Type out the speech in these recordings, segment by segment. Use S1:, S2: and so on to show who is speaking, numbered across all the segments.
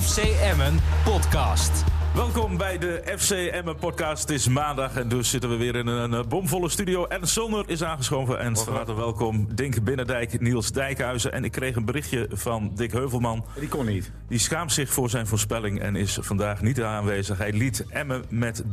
S1: FC Emmen podcast.
S2: Welkom bij de FC Emmen podcast. Het is maandag en dus zitten we weer in een eh, bomvolle studio. En Zonder is aangeschoven en van harte welkom Dink Binnendijk, Niels Dijkhuizen. En ik kreeg een berichtje van Dick Heuvelman.
S3: Die kon niet.
S2: Die schaamt zich voor zijn voorspelling en is vandaag niet aanwezig. Hij liet Emmen met 3-1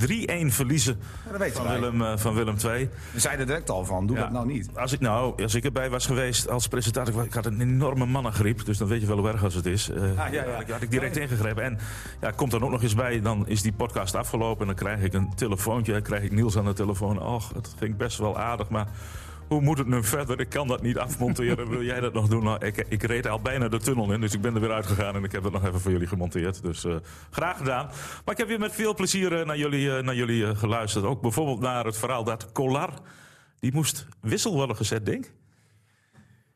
S2: verliezen
S3: dat weten
S2: van,
S3: wij.
S2: Willem, eh, van Willem II.
S3: We zeiden er direct al van, doe
S2: Ja.
S3: dat nou niet.
S2: Als ik, nou, als ik erbij was geweest als presentator, ik had een enorme mannengriep. Dus dan weet je wel hoe erg als het is. Eh,
S3: Ah, ja, ja.
S2: had ik- Had ik direct ingegrepen. En ja, komt er ook nog eens bij, dan is die podcast afgelopen. En dan krijg ik een telefoontje, dan krijg ik Niels aan de telefoon. Och, het ging best wel aardig, maar... Hoe moet het nu verder? Ik kan dat niet afmonteren. Wil jij dat nog doen? Nou, ik, ik reed al bijna de tunnel in, dus ik ben er weer uitgegaan en ik heb het nog even voor jullie gemonteerd. Dus eh, graag gedaan. Maar ik heb weer met veel plezier eh, naar jullie, eh, naar jullie eh, geluisterd. Ook bijvoorbeeld naar het verhaal dat Collar die moest wissel worden gezet, denk ik.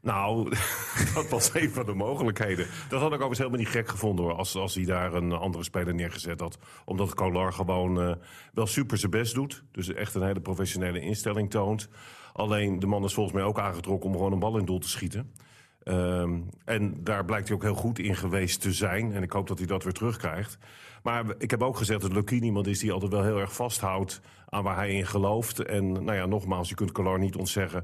S4: Nou, dat was een van de mogelijkheden. Dat had ik overigens helemaal niet gek gevonden hoor. Als, als hij daar een andere speler neergezet had. Omdat Kolar gewoon eh, wel super zijn best doet. Dus echt een hele professionele instelling toont. Alleen de man is volgens mij ook aangetrokken om gewoon een bal in doel te schieten. Ehm, en daar blijkt hij ook heel goed in geweest te zijn. En ik hoop dat hij dat weer terugkrijgt. Maar ik heb ook gezegd dat Lucky iemand is die altijd wel heel erg vasthoudt aan waar hij in gelooft. En nou ja, nogmaals, je kunt Kolar niet ontzeggen.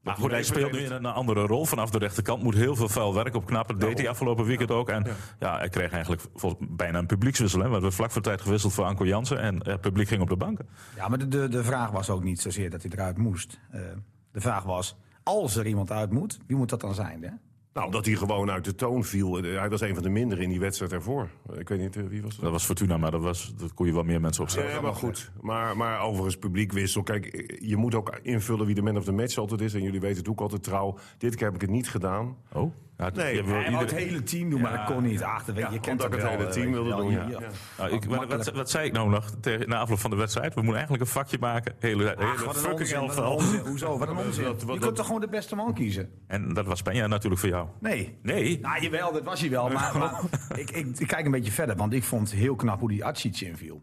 S2: Maar
S4: dat
S2: goed, hij
S4: even
S2: speelt nu in een andere rol vanaf de rechterkant. Moet heel veel vuil werk opknappen. Dat deed hij afgelopen weekend ook. En ja, hij kreeg eigenlijk vol- bijna een publiekswissel. Hè. We hebben vlak voor tijd gewisseld voor Anko Jansen. En eh, het publiek ging op de banken.
S3: Ja, maar de, de, de vraag was ook niet zozeer dat hij eruit moest. Eh, de vraag was, als er iemand uit moet, wie moet dat dan zijn? Hè?
S4: Nou, dat hij gewoon uit de toon viel. Hij was een van de minderen in die wedstrijd ervoor. Ik weet niet, eh, wie was dat?
S2: Dat was Fortuna, maar dat, was, dat kon je wel meer mensen opstellen.
S4: Ja, maar goed. Maar, maar overigens, publiekwissel. Kijk, eh, je moet ook invullen wie de man of the match altijd is. En jullie weten het ook altijd trouw. Dit keer heb ik het niet gedaan.
S2: Oh, ja,
S4: Nee,
S2: je hebt wel
S4: hij
S3: Hij wou
S2: ieder-
S3: het hele team doen, maar dat kon niet. Ach, dat weet, je
S4: Ja,
S3: kent
S4: omdat
S3: dat
S4: ik het
S3: wel,
S4: hele
S3: eh,
S4: team
S3: weet je
S4: wilde
S3: wel.
S4: doen,
S3: Je-
S4: ja.
S2: Nou, ik, wat, wat,
S3: makkelijk.
S2: wat zei ik nou nog tegen, na afloop van de wedstrijd? We moeten eigenlijk een vakje maken. Hele, hele
S3: Ach, wat een
S2: fucking
S3: onzin, wat een
S2: elftal.
S3: onzin. Hoezo, wat een onzin.
S4: wat-
S3: Je
S4: wat-
S3: kunt toch gewoon de beste man kiezen?
S2: En dat was Penja natuurlijk voor jou.
S3: Nee.
S2: Nee,
S3: Nou, jawel, dat was hij wel. Maar, maar ik, ik, ik kijk een beetje verder, want ik vond het heel knap hoe die Atsic inviel.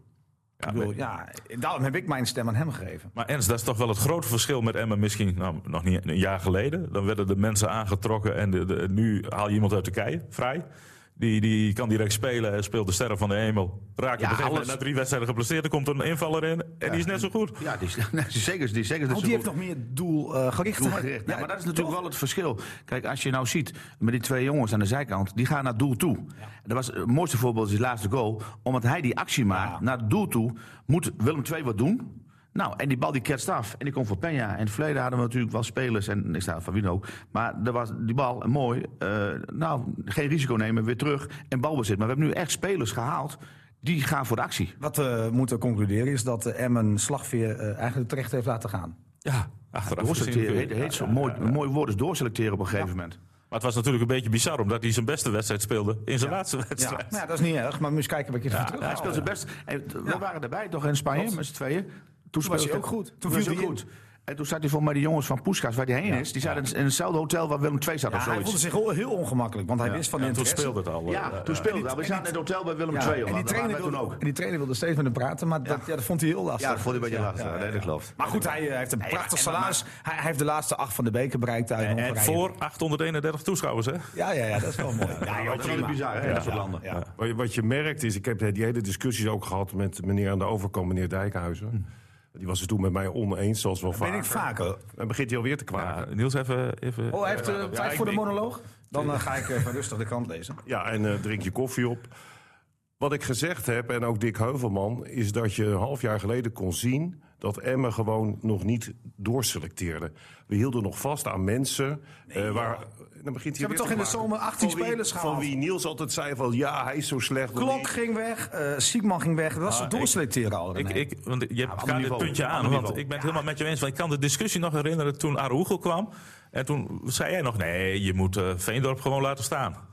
S3: Ja, ik bedoel, ja, daarom heb ik mijn stem aan hem gegeven.
S2: Maar Ernst, dat is toch wel het grote verschil met Emmen misschien nou, nog niet een jaar geleden. Dan werden de mensen aangetrokken en de, de- nu haal je iemand uit Turkije, vrij. Die, die kan direct spelen, eh, speelt de sterren van de hemel. Raakt op
S5: Ja,
S2: een gegeven moment
S5: alles.
S2: na drie wedstrijden geblesseerd. Er komt een invaller in en die is net zo goed.
S5: Ja, die is, nee, zeker, die is zeker dat
S3: Oh,
S5: ze
S3: die heeft
S5: goed
S3: nog eh, meer doelgericht.
S5: doelgericht. Ja, maar dat is natuurlijk wel het verschil. Kijk, als je nou ziet met die twee jongens aan de zijkant, die gaan naar doel toe. Dat was het mooiste voorbeeld is die laatste goal, omdat hij die actie maakt naar het doel toe, moet Willem II wat doen. Nou, en die bal die ketst af en die komt voor Peña. In het verleden hadden we natuurlijk wel spelers, en ik sta van wie dan ook. Maar er was die bal, mooi, eh, nou, geen risico nemen, weer terug en balbezit. Maar we hebben nu echt spelers gehaald, die gaan voor de actie.
S3: Wat we moeten concluderen is dat eh, Emmen slagveer eh, eigenlijk terecht heeft laten gaan.
S2: Ja, achteraf gezien kun
S5: Doorselecteren,
S2: je-
S5: heet, heet zo
S2: Ja,
S5: mooi,
S2: ja.
S5: mooi woord is doorselecteren op een gegeven moment.
S2: Maar het was natuurlijk een beetje bizar, omdat hij zijn beste wedstrijd speelde in zijn laatste
S3: Ja.
S2: wedstrijd.
S3: Nou, ja, dat is niet erg, maar we eens kijken wat je ervan terug
S5: Ja, hij speelt zijn best. En t- we waren erbij toch in Spanje met z'n tweeën. Toen
S3: was
S5: speelde
S3: hij ook goed. Toen
S5: Toen
S3: viel
S5: viel hij
S3: hij
S5: goed. En toen zat hij voor mij de jongens van Poeskas, waar hij heen is. Die zaten in- in hetzelfde hotel waar Willem II zat
S3: Ja,
S5: of
S3: hij
S5: zoiets.
S3: voelde zich heel- heel ongemakkelijk, want hij wist van de
S2: En toen
S3: interesse.
S2: speelde het al. eh,
S5: Ja, toen speelde hij. We zaten in het hotel bij Willem
S3: Ja,
S5: II.
S3: en, die trainer wilde,
S5: toen ook.
S3: en die trainer wilde steeds met hem praten, maar dat, ja, dat vond hij heel lastig.
S5: Ja, dat vond hij een beetje lastig.
S3: ja,
S5: Nee, dat klopt.
S3: Maar goed, hij, eh, heeft een prachtig salaris. Hij, hij heeft de laatste acht van de beker bereikt uit
S2: En
S3: Hongarije.
S2: voor 831 toeschouwers, hè?
S3: Ja, ja, ja, dat is wel mooi.
S5: Ja, dat is wel bizar, hè, in dat soort landen.
S3: Ja.
S4: Wat je, wat je merkt is, ik heb die hele discussies ook gehad met meneer aan de overkant, meneer Dijkhuizen.
S2: Hm.
S4: Die was het toen met mij oneens, zoals wel
S3: Ben
S4: vaak.
S3: ik vaker.
S4: Dan begint hij alweer te kwaken.
S2: Ja, Niels, even... even
S3: Oh, hij heeft eh, tijd
S4: ik-
S3: voor de
S4: ik-
S3: monoloog? Dan eh, ga ik eh, even rustig de krant lezen.
S4: Ja, en eh, drink je koffie op. Wat ik gezegd heb, en ook Dick Heuvelman, is dat je een half jaar geleden kon zien dat Emmen gewoon nog niet doorselecteerde. We hielden nog vast aan mensen. eh, waar, dan begint
S3: hebben toch in de zomer 18 spelers
S4: gaan.
S3: gehaald?
S4: Van wie Niels altijd zei van ja, hij is zo slecht.
S3: Klok ging weg, eh Siegman ging weg. Dat was
S5: Ah,
S3: het doorselecteren al.
S2: Ik,
S3: René.
S2: ik, want je gaat
S5: ander
S2: dit
S5: niveau.
S2: puntje aan,
S5: Ander
S2: want
S5: niveau.
S2: ik ben het helemaal met je eens. Want ik kan de discussie nog herinneren toen Aroegel kwam. En toen zei jij nog, nee, je moet eh, Veendorp gewoon laten staan.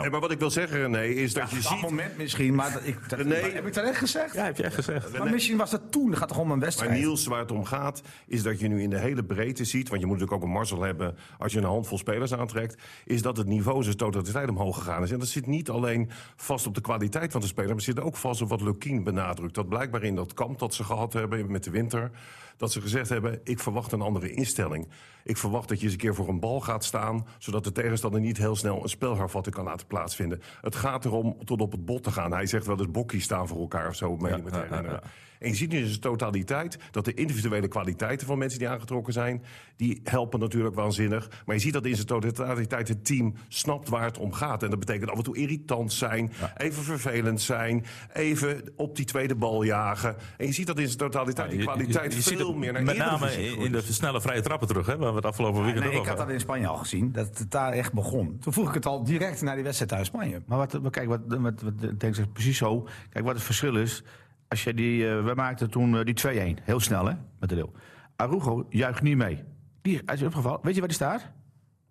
S4: Nee, maar wat ik wil zeggen, René, is dat je
S3: Op dat
S4: ziet...
S3: moment misschien, maar dat, ik, dat,
S4: Nee.
S3: maar heb ik dat echt gezegd?
S2: Ja, heb je echt gezegd.
S3: Maar misschien was dat toen. Het gaat toch om een wedstrijd?
S4: Maar Niels, waar het om gaat, is dat je nu in de hele breedte ziet... want je moet natuurlijk ook een marzel hebben als je een handvol spelers aantrekt... is dat het niveau zijn totaliteit omhoog gegaan is. En dat zit niet alleen vast op de kwaliteit van de speler... maar zit ook vast op wat Lukien benadrukt. Dat blijkbaar in dat kamp dat ze gehad hebben met de winter... dat ze gezegd hebben, ik verwacht een andere instelling. Ik verwacht dat je eens een keer voor een bal gaat staan... zodat de tegenstander niet heel snel een spelhervatting kan laten laten plaatsvinden. Het gaat erom tot op het bot te gaan. Hij zegt wel eens bokkies staan voor elkaar of zo. meen ik me te
S2: ja, ja,
S4: herinneren.
S2: ja.
S4: En je ziet nu in zijn totaliteit dat de individuele kwaliteiten van mensen die aangetrokken zijn, die helpen natuurlijk waanzinnig. Maar je ziet dat in zijn totaliteit het team snapt waar het om gaat. En dat betekent af en toe irritant zijn, even vervelend zijn, even op die tweede bal jagen. En je ziet dat in zijn totaliteit die
S2: Nou, Je-
S4: kwaliteit
S2: je- je ziet
S4: veel
S2: het
S4: meer naar
S2: Met name
S4: Eredivisie
S2: in, in de snelle vrije trappen terug, hè, waar we het afgelopen weekend
S3: Nee,
S2: ook
S3: ik had
S2: over
S3: dat in Spanje al gezien, dat het daar echt begon. Toen vroeg ik het al direct naar die wedstrijd uit Spanje.
S5: Maar wat, maar kijk, wat, wat, wat denk ik precies zo. Kijk, wat het verschil is. Als je die, eh, we maakten toen eh, die 2-1. Heel snel, hè? Met de deel. Arugo juicht niet mee. Die, als je opgevallen, weet je waar die staat?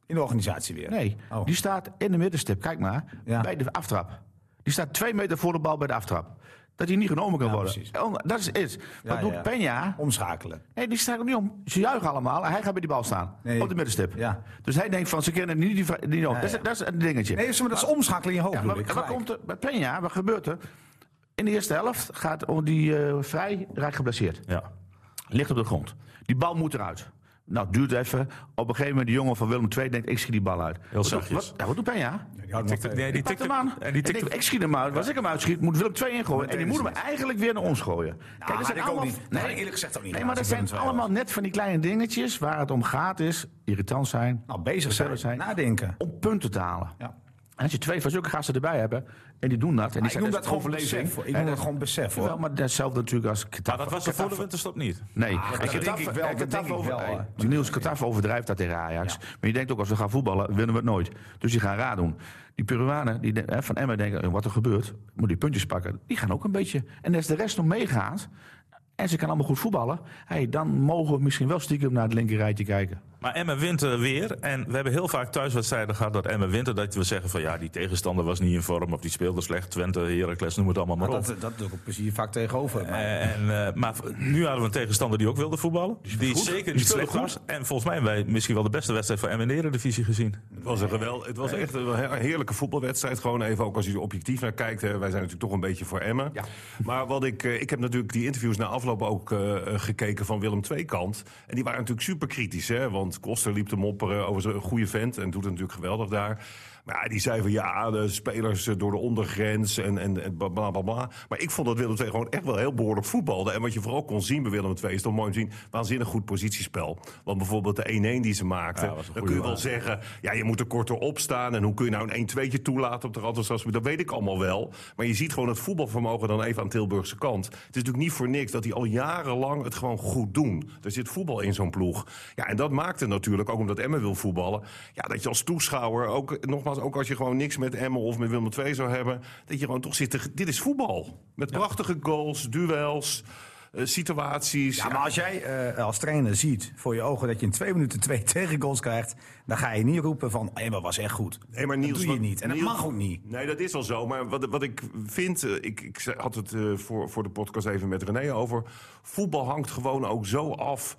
S3: In de organisatie weer.
S5: Nee.
S3: Oh.
S5: Die staat in de middenstip, kijk maar,
S3: Ja.
S5: bij de aftrap. Die staat twee meter voor de bal bij de aftrap. Dat hij niet genomen kan worden.
S3: precies.
S5: Oh, Dat is het. Wat
S3: Ja,
S5: doet
S3: ja.
S5: Peña?
S3: Omschakelen.
S5: Nee, die staat er niet om. Ze juichen allemaal en hij gaat bij die bal staan.
S3: Nee.
S5: Op de middenstip.
S3: Ja.
S5: Dus hij denkt van, ze kennen niet die... vri- die dat, is, dat is een dingetje.
S3: Nee, maar dat is omschakelen in je hoofd,
S5: Ja,
S3: bedoel
S5: maar
S3: ik.
S5: wat
S3: gelijk.
S5: komt er bij Peña? Wat gebeurt er? In de eerste helft gaat om die eh, vrij raakt geblesseerd.
S2: Ja.
S5: Ligt op de grond. Die bal moet eruit. Nou, duurt even. Op een gegeven moment de jongen van Willem II denkt, ik schiet die bal uit. Heel
S2: zachtjes.
S5: Wat, ja, wat doet Peña?
S3: Die houdt nog
S2: Tikte-
S3: tegen.
S2: nee, die
S5: Pak
S2: tikte-
S5: hem aan.
S2: En die
S5: ik,
S2: tikte
S5: denk, ik schiet hem uit. Als ik hem uitschiet, moet Willem 2 ingooien. En die moet hem eigenlijk weer naar ons gooien.
S3: had
S5: dat zijn
S3: ik ook
S5: allemaal-
S3: niet. Had ik eerlijk gezegd ook niet
S5: Nee, maar dat
S3: gedaan,
S5: zijn
S3: als ik Willem II
S5: allemaal net van die kleine dingetjes waar het om gaat is. Irritant zijn.
S3: Nou, bezig zijn,
S5: Vervelend zijn.
S3: nadenken.
S5: Om punten te halen.
S3: Ja.
S5: En als je twee van zulke gasten erbij hebt en die doen dat. En die
S3: Maar ik
S5: zijn
S3: noem
S5: dus
S3: dat gewoon
S5: overleving.
S3: besef. hoor. Ik
S5: Hè,
S3: noem dat gewoon besef,
S5: Jawel,
S3: hoor.
S5: maar hetzelfde natuurlijk als
S2: Maar
S5: Qatar.
S2: dat was er voor de winterstop niet.
S5: Nee,
S3: dat
S5: en
S3: denk
S5: Getafe-
S3: ik wel,
S5: en
S3: dat
S5: Getafe
S3: denk ik wel,
S5: nee,
S3: hè.
S5: die Niels Kataf overdrijft dat tegen Ajax. Maar je denkt ook, als we gaan voetballen, winnen we het nooit. Dus die gaan raar doen. Die Peruanen die, de- hè, van Emmen denken, eh, wat er gebeurt, moet die puntjes pakken. Die gaan ook een beetje. En als de rest nog meegaat, en ze kan allemaal goed voetballen... Hey, dan mogen we misschien wel stiekem naar het linkerrijtje kijken.
S2: Maar Emmen wint eh, weer. En we hebben heel vaak thuiswedstrijden gehad dat Emmen wint. en Dat we zeggen van ja, die tegenstander was niet in vorm. Of die speelde slecht. Twente, Heracles, noem het allemaal maar op.
S3: Dat, dat doe ik op plezier vaak tegenover. Maar
S2: Eh, En, eh, maar v- nu hadden we een tegenstander die ook wilde voetballen. Die
S5: goed.
S2: zeker
S5: Die
S2: niet
S5: speelde
S2: slecht was. En volgens mij hebben wij misschien wel de beste wedstrijd van Emmen in de Eredivisie gezien.
S4: Het was, een geweld, het was echt een he- heerlijke voetbalwedstrijd. Gewoon even ook als je er objectief naar kijkt. hè. Wij zijn natuurlijk toch een beetje voor Emmen. Maar wat ik, eh, ik heb natuurlijk die interviews na afloop ook eh, eh, gekeken van Willem Tweekant. En die waren natuurlijk super kritisch. Hè? Want Koster liep te mopperen over zo'n goede vent. En doet het natuurlijk geweldig daar. Maar ja, die zei van ja, de spelers eh, door de ondergrens en, en, en bla, bla bla bla. Maar ik vond dat Willem II gewoon echt wel heel behoorlijk voetbalde. En wat je vooral kon zien bij Willem II is toch mooi om te zien. Waanzinnig goed positiespel. Want bijvoorbeeld de 1-1 die ze maakten.
S2: Ja, was een
S4: dan
S2: goeie
S4: kun je wel
S2: maat.
S4: zeggen, ja, je moet er korter op staan. En hoe kun je nou een 1-2'tje toelaten op de rand? Dat weet ik allemaal wel. Maar je ziet gewoon het voetbalvermogen dan even aan Tilburgse kant. Het is natuurlijk niet voor niks dat die al jarenlang het gewoon goed doen. Er zit voetbal in zo'n ploeg. Ja, en dat maakt het natuurlijk, ook omdat Emmen wil voetballen... Ja, dat je als toeschouwer, ook, eh, nogmaals, ook als je gewoon niks met Emmen of met Willem II zou hebben... dat je gewoon toch zit te... Dit is voetbal. Met prachtige goals, duels, eh, situaties.
S3: Ja, maar als jij eh, als trainer ziet voor je ogen dat je in twee minuten twee tegengoals krijgt, dan ga je niet roepen van, hé, maar was echt goed.
S4: Nee, maar Niels,
S3: dat doe je
S4: wat-
S3: niet. En
S4: Niels-
S3: dat mag ook niet.
S4: Nee, dat is wel zo. Maar wat, wat ik vind, eh, ik, ik ze- had het eh, voor, voor de podcast even met René over. Voetbal hangt gewoon ook zo af.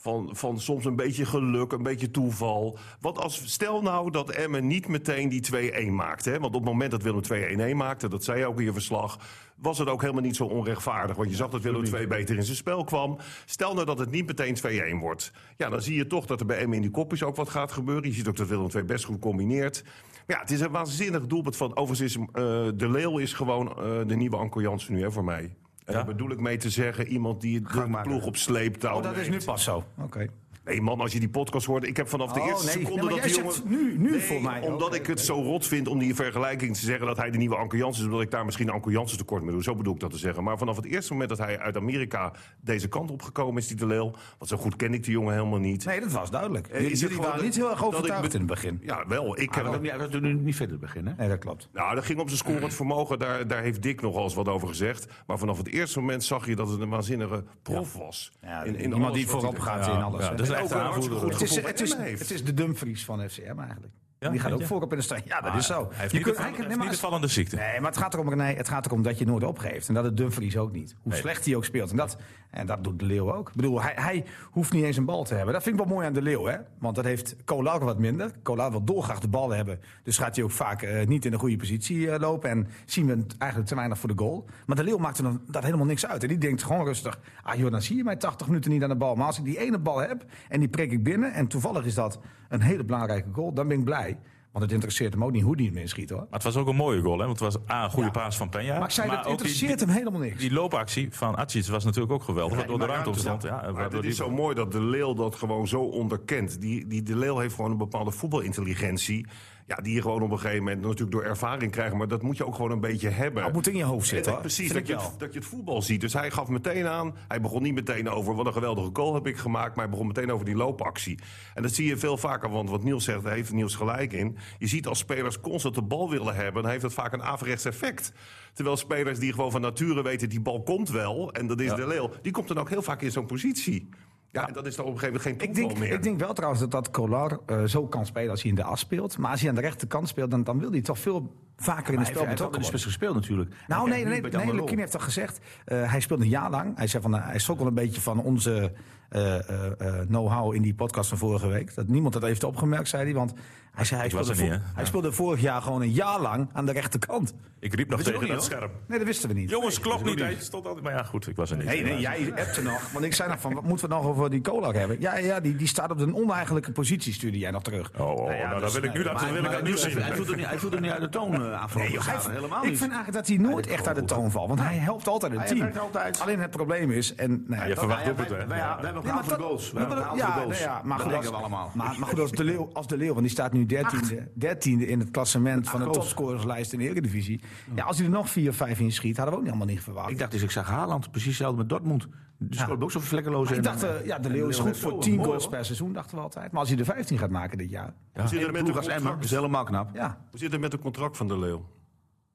S4: Van, van soms een beetje geluk, een beetje toeval. Want als, stel nou dat Emmen niet meteen die 2-1 maakte. Hè? Want op het moment dat Willem 2-1 maakte, dat zei je ook in je verslag... was het ook helemaal niet zo onrechtvaardig. Want je zag dat Willem 2 beter in zijn spel kwam. Stel nou dat het niet meteen 2-1 wordt. Ja, dan zie je toch dat er bij Emmen in die kopjes ook wat gaat gebeuren. Je ziet ook dat Willem 2 best goed combineert. Maar ja, het is een waanzinnig doelpunt van. Overigens is eh, De Leeuw is gewoon eh, de nieuwe Anko Jansen nu hè, voor mij. En daar bedoel ik mee te zeggen, iemand die de
S5: maken.
S4: ploeg op sleeptouw
S3: Oh, dat is nu
S4: neemt.
S3: pas zo. Oké.
S4: Nee man, als je die podcast hoort, ik heb vanaf de
S3: Oh,
S4: eerste
S3: nee.
S4: seconde
S3: Nee, maar
S4: dat
S3: jij
S4: die
S3: zegt
S4: jongen...
S3: nu- nu
S4: Nee,
S3: voor mij.
S4: omdat
S3: Oké,
S4: ik het zo rot vind om die vergelijking te zeggen... dat hij de nieuwe Anko Jansen is, omdat ik daar misschien Anko Jansen tekort mee doe. Zo bedoel ik dat te zeggen. Maar vanaf het eerste moment dat hij uit Amerika deze kant opgekomen is, die De Leeuw... want zo goed ken ik die jongen helemaal niet.
S3: Nee, dat was duidelijk.
S4: Eh, is
S3: Jullie,
S4: het
S3: jullie
S4: gewoon
S3: waren niet heel erg
S4: dat ik
S3: overtuigd
S4: met-
S3: in het begin.
S4: Ja, wel. Ik heb
S5: Ja, dat is natuurlijk niet verder beginnen.
S3: Nee, dat klopt.
S4: Nou, dat ging om zijn scorend vermogen. Daar, daar heeft Dick nogal eens wat over gezegd. Maar vanaf het eerste moment zag je dat het een waanzinnige prof was.
S3: Ja,
S4: In- in
S3: iemand
S4: alles
S3: die
S4: wat hij
S3: voorop
S4: deed.
S3: gaat
S2: Ja,
S3: in alles.
S2: ja,
S3: hè.
S2: dat is
S4: En
S2: echt
S4: ook
S2: een
S4: een hartstikke
S2: aanvoerder.
S4: goed
S3: Het is,
S4: gevoel
S3: het,
S4: bij
S3: is,
S4: Emmen heeft.
S3: het is de Dumfries van FCM eigenlijk.
S2: Ja,
S3: die gaat
S2: weet
S3: ook
S2: je?
S3: voorop in de strijd. Ja, dat is zo.
S2: Hij heeft
S3: Je
S2: niet,
S3: kunt
S2: de,
S3: eigenlijk-
S2: hij heeft
S3: nee, maar
S2: niet de
S3: als-
S2: vallende ziekte.
S3: Nee, maar het gaat erom, René, het gaat erom dat je nooit opgeeft. En dat het Dumfries ook niet. Hoe slecht hij ook speelt. En dat, en dat doet De Leeuw ook. Ik bedoel, hij, hij hoeft niet eens een bal te hebben. Dat vind ik wel mooi aan De Leeuw, hè. Want dat heeft Kolar ook wat minder. Kolar wil dolgraag de bal hebben. Dus gaat hij ook vaak eh, niet in de goede positie eh, lopen. En zien we het eigenlijk te weinig voor de goal. Maar De Leeuw maakt er dan, dat helemaal niks uit. En die denkt gewoon rustig, ah joh, dan zie je mij 80 minuten niet aan de bal. Maar als ik die ene bal heb en die prik ik binnen... en toevallig is dat een hele belangrijke goal, dan ben ik blij. Want het interesseert hem ook niet hoe die hem inschiet hoor.
S2: Maar het was ook een mooie goal, hè? Want het was A, een goede
S3: Ja.
S2: paas van Peña.
S3: Maar ik zei, dat
S2: ook die-
S3: interesseert
S2: die,
S3: hem helemaal niks.
S2: Die loopactie van Atsic was natuurlijk ook geweldig. waardoor de
S4: Maar
S2: ruimte
S4: ruimte
S2: ontstond. Ja,
S4: Maar
S2: waardoor
S4: het
S2: die-
S4: is zo mooi dat De Leeuw dat gewoon zo onderkent. Die, die De Leeuw heeft gewoon een bepaalde voetbalintelligentie. Ja, die je gewoon op een gegeven moment natuurlijk door ervaring krijgt. Maar dat moet je ook gewoon een beetje hebben.
S3: Dat moet in je hoofd zitten.
S4: Ja,
S3: hoor. Vind
S4: precies, dat
S3: ik
S4: je,
S3: wel.
S4: het, dat je het voetbal ziet. Dus hij gaf meteen aan. Hij begon niet meteen over wat een geweldige goal heb ik gemaakt. Maar hij begon meteen over die loopactie. En dat zie je veel vaker. Want wat Niels zegt, daar heeft Niels gelijk in. Je ziet als spelers constant de bal willen hebben. Dan heeft dat vaak een averechts effect. Terwijl spelers die gewoon van nature weten. die bal komt wel. En dat is de leeuw. Die komt dan ook heel vaak in zo'n positie. Ja, en dat is dan op een gegeven moment geen
S3: Ik
S4: toeval
S3: denk,
S4: meer.
S3: ik denk wel trouwens dat dat Colar eh, zo kan spelen als hij in de as speelt. Maar als hij aan de rechterkant speelt, dan, dan wil hij toch veel vaker in het spel
S5: Hij heeft wel in
S3: betrokken
S5: de
S3: worden.
S5: spits gespeeld natuurlijk.
S3: Nou,
S5: Hij
S3: nee,
S5: krijgt
S3: nee,
S5: nu
S3: nee,
S5: bij Danilo.
S3: Lukien heeft al gezegd, eh, hij speelde een jaar lang. Hij zei van, eh, hij is ook wel een beetje van onze eh, eh, eh, know-how in die podcast van vorige week. Dat niemand dat heeft opgemerkt, zei hij. Want hij zei, hij,
S2: was
S3: speelde,
S2: er niet,
S3: vo-
S2: hè?
S3: hij speelde vorig jaar gewoon een jaar lang aan de rechterkant.
S2: Ik riep nog
S5: Weet je
S2: tegen
S5: ook
S2: dat
S5: niet, hoor.
S2: scherm.
S3: Nee, dat wisten we niet.
S2: Jongens, klopt
S5: dat is
S2: niet.
S5: ook
S2: Hij stond altijd. Maar ja, goed, ik was er niet.
S3: Nee, nee, jij hebt er nog. Want ik zei nog van, wat moeten we nog over die Kolak hebben? Ja, ja die, die staat op een oneigenlijke positie, stuurde jij nog terug.
S2: Oh, oh,
S3: ja,
S2: nou,
S3: dus-
S2: dan wil ik nu
S3: nee,
S2: dat
S5: Maar-
S2: dan wil ik
S5: maar
S2: dat
S5: hij
S2: nu
S5: doet-
S2: zien.
S5: hij doet het niet- Hij voelt er niet uit de toon eh, afgelopen.
S3: joh, hij-
S5: zaterdag. helemaal
S3: ik
S5: niet.
S3: vind eigenlijk dat hij nooit echt uit de toon valt. Want hij helpt altijd het
S5: Hij
S3: team.
S5: werkt altijd.
S3: Alleen het probleem is... En, nou ja,
S2: je
S3: dat-
S2: verwacht
S5: Nou ja,
S2: doelpunten,
S5: wij-
S2: hè?
S5: wij-
S2: Ja.
S5: wij hebben
S3: Ja, maar
S5: gehaald voor
S3: dat-
S5: goals. We
S3: dat-
S5: hebben gehaald
S3: ja,
S5: voor goals.
S3: nee, ja, maar
S5: Dat
S3: goed,
S5: denken
S3: als,
S5: we allemaal.
S3: Maar, maar goed, als de Leeuw, als de Leeuw want die staat nu 13e, 13e in het klassement van de
S5: goals.
S3: topscorerslijst in de Eredivisie. Ja, als hij er nog 4 of 5 in schiet, hadden we ook helemaal niet verwacht.
S5: Ik dacht dus, ik zag Haaland precies hetzelfde met Dortmund. Dus scoorde ook zo vlekkeloos.
S3: Maar ik
S5: en-
S3: dacht, eh,
S5: en-
S3: ja, de
S5: en
S3: Leeuw is goed
S5: heeft
S3: voor
S5: zo
S3: 10
S5: mooi,
S3: goals
S5: hoor.
S3: per seizoen, dachten we altijd. Maar als hij er 15 gaat maken dit jaar,
S4: Hoe zit
S5: Hele
S4: het met de
S5: ploeg als Emmer is
S4: contract-
S5: helemaal knap.
S3: ja.
S4: hoe zit het met het contract van De Leeuw?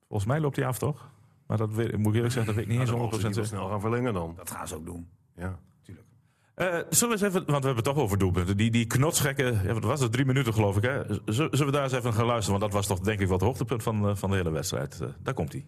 S2: Volgens mij loopt hij af, toch? Maar dat weet, moet ik eerlijk zeggen, dat weet ik niet
S4: Ja,
S2: eens
S4: dan
S2: 100%
S4: mogen ze die wel
S2: zeker.
S4: snel gaan verlengen dan.
S3: Dat gaan ze ook doen.
S4: Ja.
S2: Eh, zullen we eens even, want we hebben het toch over doelpunten. Die, die knotsgekke, ja, wat was het, drie minuten geloof ik. Hè? Z- Zullen we daar eens even gaan luisteren? Want dat was toch denk ik wel het hoogtepunt van, eh, van de hele wedstrijd. Eh, daar komt hij.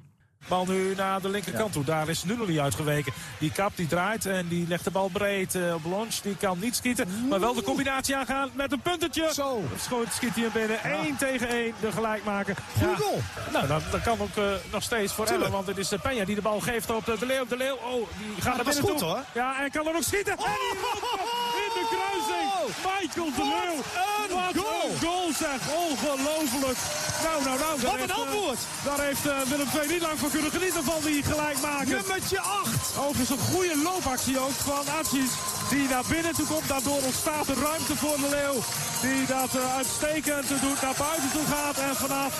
S1: Bal nu naar de linkerkant toe. Daar is Nunnely uitgeweken. Die kap die draait en die legt de bal breed eh, op Lons. Die kan niet schieten, maar wel de combinatie aangaan met een puntetje. Zo. Schoot schiet hij hem binnen. 1 tegen 1 de gelijkmaker. Goede goal. Nou, dat, dat kan ook eh, nog steeds voor Ellen. Want het is eh, Peña die de bal geeft op eh, De Leeuw. De Leeuw, oh, die gaat er
S6: was
S1: binnen
S6: goed,
S1: toe.
S6: hoor. Oh!
S1: Ja, en kan er ook schieten. En die rolt hem in de kruising. Michael De Leeuw. Wat
S6: goal.
S1: een goal zeg. Ongelooflijk. Nou, nou, nou. daar
S6: Wat een
S1: heeft, eh,
S6: antwoord.
S1: daar heeft eh, Willem II niet lang van kunnen genieten van die gelijkmaker.
S6: Nummertje 8.
S1: Overigens een goede loopactie ook van Atsis. Die naar binnen toe komt. Daardoor ontstaat er ruimte voor de Leeuw. Die dat eh, uitstekend doet. Naar buiten toe gaat. En vanaf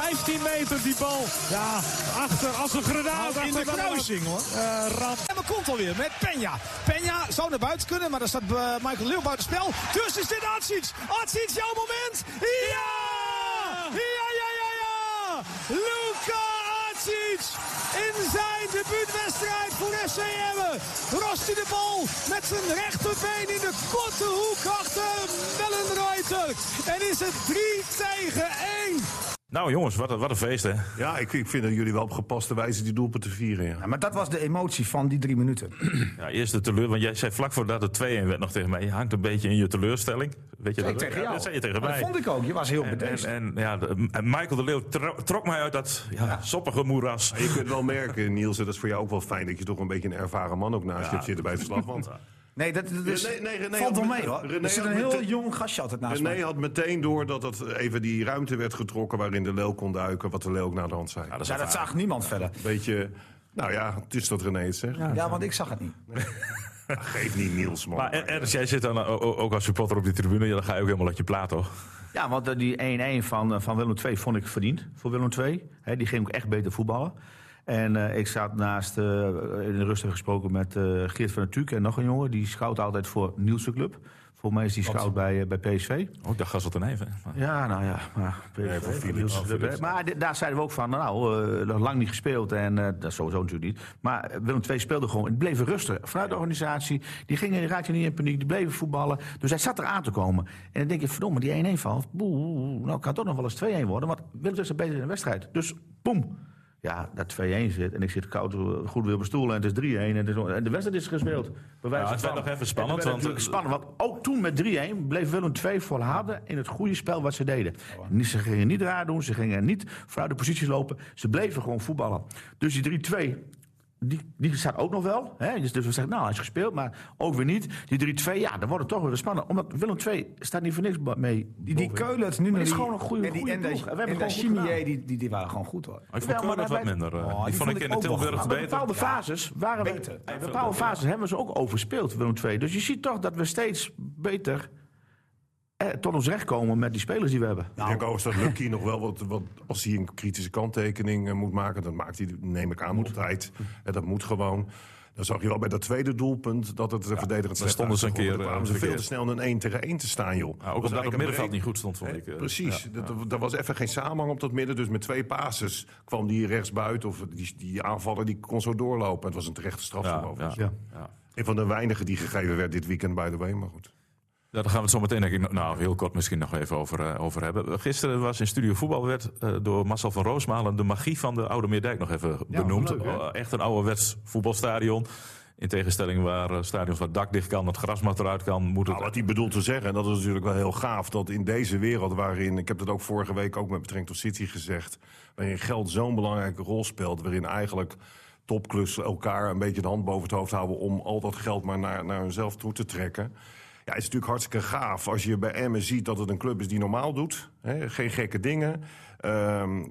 S1: 15 meter die bal. Ja, achter. Als een granaat.
S6: in de
S1: achter
S6: kruising hoor.
S1: Eh, ramt.
S6: En we komt alweer met Peña. Peña zou naar buiten kunnen, maar daar staat eh, Michael Leeuw buiten spel. Dus is dit Atsic. Atsic, jouw moment. Ja! Ja, ja, ja, ja! Luka Atsic in zijn debuutwedstrijd voor FC Emmen. Rost hij de bal met zijn rechterbeen in de korte hoek achter Mellenreuter. En is het 3 tegen 1.
S2: Nou jongens, wat een, wat een feest hè.
S4: Ja, ik, ik vind dat jullie wel op gepaste wijze die doelpunten vieren. Ja.
S3: Ja, maar dat was de emotie van die drie minuten.
S2: Ja, eerst de teleur, want jij zei vlak voordat het 2-1 werd nog tegen mij. Je hangt een beetje in je teleurstelling. Weet je
S3: Zei ik
S2: dat?
S3: tegen
S2: Ja,
S3: jou.
S2: dat zei je tegen
S3: Maar
S2: mij.
S3: Dat vond ik ook. Je was heel
S2: En,
S3: bedeesd.
S2: en, en, ja, de- en Michael de Leeuw tro- trok mij uit dat ja, soppige moeras.
S4: Je kunt wel merken, Niels, en dat is voor jou ook wel fijn dat je toch een beetje een ervaren man ook naast je hebt zitten bij het verslag. Want
S3: Nee, dat, dat is,
S4: René- nee, René
S3: valt wel
S4: had-
S3: mee hoor.
S4: René
S3: er zit een
S4: had
S3: heel
S4: meteen-
S3: jong gastje altijd naast mij.
S4: René had meteen door dat het even die ruimte werd getrokken waarin de leeuw kon duiken, wat de leeuw ook naar de hand zei.
S2: Ja, dat is
S3: Ja, dat
S2: ervaring.
S3: zag niemand verder.
S4: Beetje, nou ja, het is dat René het zegt.
S3: Ja, want ik zag het niet.
S4: Geef niet Niels, man.
S2: Maar er- ergens, jij zit dan eh, o- o- ook als supporter op die tribune. Ja, dan ga je ook helemaal uit je plaat, toch?
S5: Ja, want eh, die 1-1 van, eh, van Willem II vond ik verdiend voor Willem II. Hè, die ging ook echt beter voetballen. En eh, ik zat naast, eh, in de rust heb ik gesproken met eh, Geert van der Tuuk en nog een jongen. Die scout altijd voor Nielse Club. Voor mij is die scout bij, eh, bij PSV.
S2: Oh, ik dacht Gasselt en Even. Maar-
S5: Ja, nou ja. Maar,
S4: voor
S5: PSV,
S4: Philips.
S5: Niels-
S4: Oh, Philips.
S5: maar di- daar zeiden we ook van, nou, eh, nog lang niet gespeeld. En eh, dat sowieso natuurlijk niet. Maar eh, Willem II speelde gewoon. Het bleef rustig. Vanuit de organisatie. Die gingen, raakte niet in paniek. Die bleven voetballen. Dus hij zat er aan te komen. En dan denk je, verdomme, die 1-1 valt. Boe, boe, boe, nou, kan toch nog wel eens 2-1 worden. Want Willem II staat beter in de wedstrijd. Dus, boem. Ja, dat 2-1 zit. En ik zit koud eh, goed weer op mijn stoel. En het is 3-1. En, het is- en de wedstrijd is gespeeld. Bij wijze
S2: Ja,
S5: van
S2: het werd
S5: spreken.
S2: nog even
S5: En
S2: spannend,
S5: het werd
S2: want-
S5: natuurlijk spannend. Want ook toen met 3-1 bleef Willem 2 volharden in het goede spel wat ze deden. Niet- Ze gingen niet raar doen, ze gingen niet vooruit de posities lopen. Ze bleven gewoon voetballen. Dus die 3-2, Die, die staat ook nog wel. Hè? Dus, dus we zeggen, nou, hij is gespeeld, maar ook weer niet. Die 3-2, ja, dan wordt het toch weer spannend. Omdat Willem 2 staat niet voor niks ba- mee.
S3: Die, die Keulert, nu naar
S5: Maar die is
S3: die-
S5: gewoon een goede-
S3: en die
S5: goede
S3: Enda-
S5: ploeg. En we hebben
S3: Enda
S5: gewoon goed
S3: Chimier,
S5: gedaan.
S3: die, die, die waren gewoon goed hoor.
S2: Ik
S5: Ja,
S2: vond
S5: maar
S2: Keulen
S5: dat
S2: wat
S5: wij-
S2: minder. eh.
S3: die
S2: die vond
S3: vond
S2: ik in
S3: ik
S2: de
S3: ook wel
S2: Tilburg
S5: Maar
S3: goed.
S5: bij
S2: beter.
S5: bepaalde fases waren we,
S3: Beter.
S5: bij bepaalde fases hebben we ze ook overspeeld, Willem II. Dus je ziet toch dat we steeds beter eh, tot ons recht komen met die spelers die we hebben.
S4: Ik
S2: Nou.
S4: denk overigens dat Lucky nog wel wat, wat... Als hij een kritische kanttekening eh, moet maken, dan maakt hij, neem ik aan, altijd. En dat moet gewoon. Dan zag je wel bij dat tweede doelpunt dat het de verdedigend
S2: daar stonden ze een
S4: uitgevoerd.
S2: keer,
S4: Dan kwamen ze
S2: eh,
S4: veel te
S2: verkeerd.
S4: snel in een 1 tegen 1 te staan, joh.
S2: Ja, ook
S4: Dat was
S2: omdat het
S4: eigenlijk
S2: middenveld
S4: een
S2: niet goed stond, vond
S4: breed-
S2: ik. eh.
S4: Precies, Dat, dat was even geen samenhang op dat midden. Dus met twee pases kwam die rechts buiten. Of die, die aanvaller die kon zo doorlopen. Het was een terechte straf.
S2: Ja,
S4: overigens.
S2: ja, ja.
S4: Een van de weinigen die gegeven werd dit weekend, by the way. Maar goed.
S2: Ja, daar gaan we het zo meteen denk ik, nog- nou, heel kort misschien nog even over, eh, over hebben. Gisteren was in Studio Voetbal werd eh, door Marcel van Roosmalen de magie van de Oude Meerdijk nog even benoemd.
S5: leuk, hè?
S2: Eh, echt een ouderwets voetbalstadion. In tegenstelling waar eh, stadions waar het dak dicht kan, het grasmat eruit kan, moet het...
S4: Nou, wat hij bedoelt te zeggen, en dat is natuurlijk wel heel gaaf, dat in deze wereld waarin, ik heb dat ook vorige week ook met betrekking tot City gezegd, waarin geld zo'n belangrijke rol speelt, waarin eigenlijk topclubs elkaar een beetje de hand boven het hoofd houden om al dat geld maar naar, naar hunzelf toe te trekken. Ja, het is natuurlijk hartstikke gaaf als je bij Emmen ziet dat het een club is die normaal doet. Hè, geen gekke dingen. Ehm,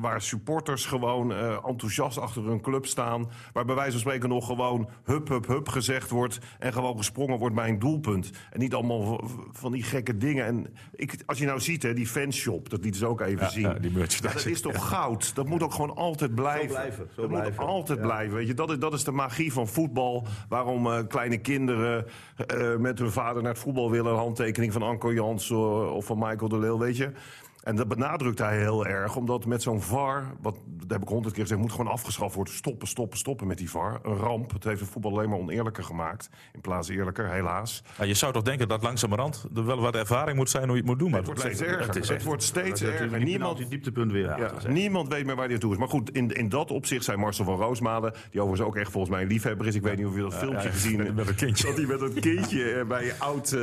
S4: waar supporters gewoon eh, enthousiast achter hun club staan. Waar bij wijze van spreken nog gewoon hup, hup, hup gezegd wordt. En gewoon gesprongen wordt bij een doelpunt. En niet allemaal v- v- van die gekke dingen. En ik, als je nou ziet, hè, die fanshop, dat liet ze ook even
S2: Ja,
S4: zien.
S2: ja, die merchandise.
S4: Ja, dat is toch goud? Dat moet ook gewoon altijd blijven.
S5: blijven, zo
S4: dat
S5: blijven.
S4: moet altijd blijven. Weet je, dat, is, dat is de magie van voetbal. Waarom eh, kleine kinderen eh, met hun vader naar het voetbal willen. Een handtekening van Anko Jans eh, of van Michael de Leeuw, weet je. En dat benadrukt hij heel erg, omdat met zo'n VAR, wat, dat heb ik honderd keer gezegd, moet gewoon afgeschaft worden. Stoppen, stoppen, stoppen met die VAR. Een ramp. Het heeft het voetbal alleen maar oneerlijker gemaakt. In plaats eerlijker, helaas.
S2: Ja, je zou toch denken dat langzamerhand er wel wat ervaring moet zijn hoe je het moet doen. Maar
S4: Het wordt
S2: blijft-
S4: steeds erger.
S2: Het is
S4: Het
S2: echt
S4: wordt steeds erger.
S5: Niemand
S4: Niemand
S5: die dieptepunt weer.
S4: Ja, niemand weet meer waar hij naartoe is. Maar goed, in, in dat opzicht zijn Marcel van Roosmalen... die overigens ook echt volgens mij een liefhebber is. Ik weet niet of je dat filmpje gezien hebt.
S2: met een kindje.
S4: Dat hij met dat kindje eh, bij oud... eh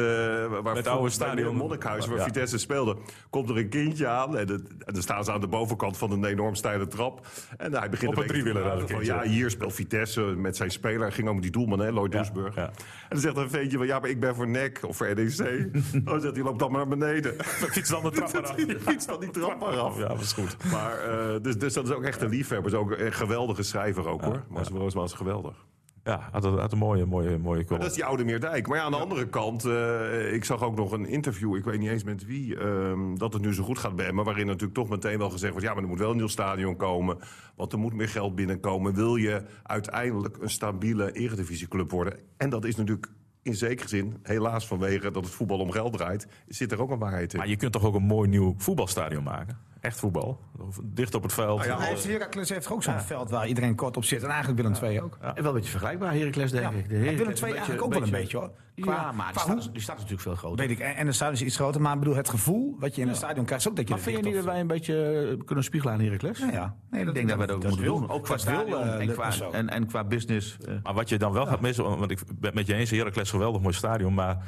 S4: waar
S2: het oude
S4: bij
S2: stadion.
S4: Monnikhuis, waar
S2: Ja.
S4: Vitesse speelde... komt er een kindje aan. En, het- en dan staan ze aan de bovenkant van een enorm steile trap. En hij begint
S2: Op een
S4: beetje te
S2: driewieler,
S4: praten
S2: dat
S4: van,
S2: kindje.
S4: Ja, hier speelt Vitesse met zijn speler. Hij ging ook met die doelman, hè, Lloyd Doesburg.
S2: ja.
S4: En dan zegt een ventje van... ja, maar ik ben voor NEC of voor NEC. oh, zegt hij, loop dan maar naar beneden.
S2: Fiets dan de trap maar af.
S4: Die fietst dan die trap maar af.
S2: Ja, dat is goed.
S4: Maar, eh, dus, dus dat is ook echt een liefhebber. Is ook een geweldige schrijver ook, hoor. Marcel Roosma is geweldig.
S2: Ja, had, een- had een mooie, mooie, mooie
S4: Dat
S2: column.
S4: is die oude Meerdijk. Maar ja, aan de andere kant... eh, ik zag ook nog een interview, ik weet niet eens met wie... ehm, dat het nu zo goed gaat bij Emmen. Waarin natuurlijk toch meteen wel gezegd wordt... ja, maar er moet wel een nieuw stadion komen. Want er moet meer geld binnenkomen. Wil je uiteindelijk een stabiele eredivisieclub worden? En dat is natuurlijk... In zekere zin, helaas vanwege dat het voetbal om geld draait, zit er ook een waarheid in.
S2: Maar je kunt toch ook een mooi nieuw voetbalstadion maken? Echt voetbal. Dicht op het veld.
S4: Nou ja,
S3: Hij heeft, Heracles heeft ook zo'n veld waar iedereen kort op zit. En eigenlijk Willem II ook.
S5: Ja. Wel een beetje vergelijkbaar, Heracles, denk ik. De
S3: Ja,
S5: Heracles
S3: Willem II
S5: een
S3: eigenlijk ook wel een beetje, hoor. Qua-
S5: ja, maar die
S3: qua
S5: staat,
S3: hoe-
S5: die staat natuurlijk veel groter.
S3: Weet ik. En, en de stadion is iets groter. Maar ik bedoel, het gevoel wat je in een stadion krijgt, is ook dat je
S5: Maar
S3: er
S5: vind je niet
S3: dicht
S5: dat
S3: op-
S5: wij een beetje eh, kunnen spiegelen aan Heracles?
S3: Ja, ja. Nee,
S5: Ik denk dat wij dat ook moeten
S3: wil-
S5: doen. Ook qua
S3: dat wil,
S5: stadion
S3: eh,
S5: en,
S3: Luc
S5: qua,
S3: Musso.
S5: en, en qua business. eh.
S2: Maar wat je dan wel gaat missen, want ik ben het met je eens, Heracles geweldig mooi stadion, maar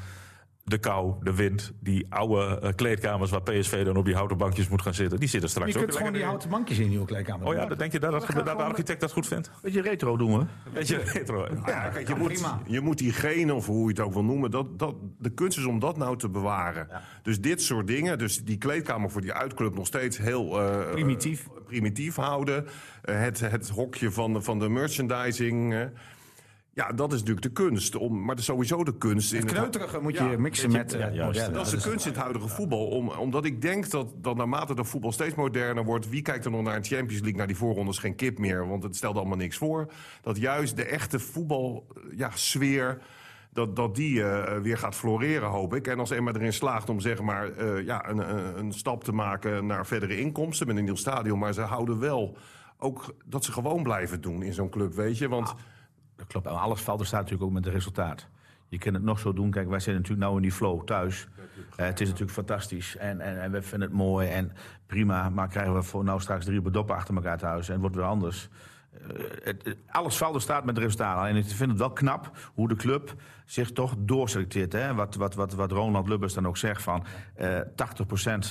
S2: de kou, de wind, die oude eh, kleedkamers waar PSV dan op die houten bankjes moet gaan zitten, die zitten straks
S3: Je
S2: ook
S3: kunt gewoon die
S2: lekker
S3: houten bankjes in, nieuwe kleedkamer.
S2: in. Oh ja, dan denk je dat, dat, dat de architect dat goed vindt?
S5: Beetje retro doen we.
S2: Weet je, retro.
S4: Ja, kijk, je, moet,
S3: prima.
S4: je moet diegene, of hoe je het ook wil noemen, dat, dat, de kunst is om dat nou te bewaren. Dus dit soort dingen, dus die kleedkamer voor die uitclub nog steeds heel... eh,
S3: Primitief.
S4: eh, primitief houden. Eh, het, het hokje van, de- van de merchandising. eh. ja, dat is natuurlijk de kunst. Om, maar dat is sowieso de kunst. in
S3: Het
S4: het-
S3: kneuterige moet je mixen met eh,
S2: juist.
S3: modellen.
S4: dat is de kunst in het huidige voetbal. Om, omdat ik denk dat, dat naarmate de voetbal steeds moderner wordt... wie kijkt er nog naar een Champions League, naar die voorrondes geen kip meer. Want het stelde allemaal niks voor. Dat juist de echte voetbalsfeer... Ja, sfeer, dat, dat die eh, weer gaat floreren, hoop ik. En als Emma erin slaagt om zeg maar, eh, ja, een, een, een stap te maken naar verdere inkomsten... met een nieuw stadion, maar ze houden wel... Ook dat ze gewoon blijven doen in zo'n club, weet je.
S3: Ah.
S4: Want
S5: Dat klopt. En Alles valt er staat natuurlijk ook met het resultaat. Je kunt het nog zo doen. Kijk, wij zitten natuurlijk nu in die flow thuis. Eh, het is natuurlijk fantastisch. En, en, en we vinden het mooi en prima. Maar krijgen we voor nou straks drie bedoppen achter elkaar thuis en het wordt weer anders. Eh, het, het- alles valt er staat met het resultaat. Alleen ik vind het wel knap hoe de club zich toch doorselecteert. Hè? Wat, wat, wat, wat Ronald Lubbers dan eh, ook zegt van eh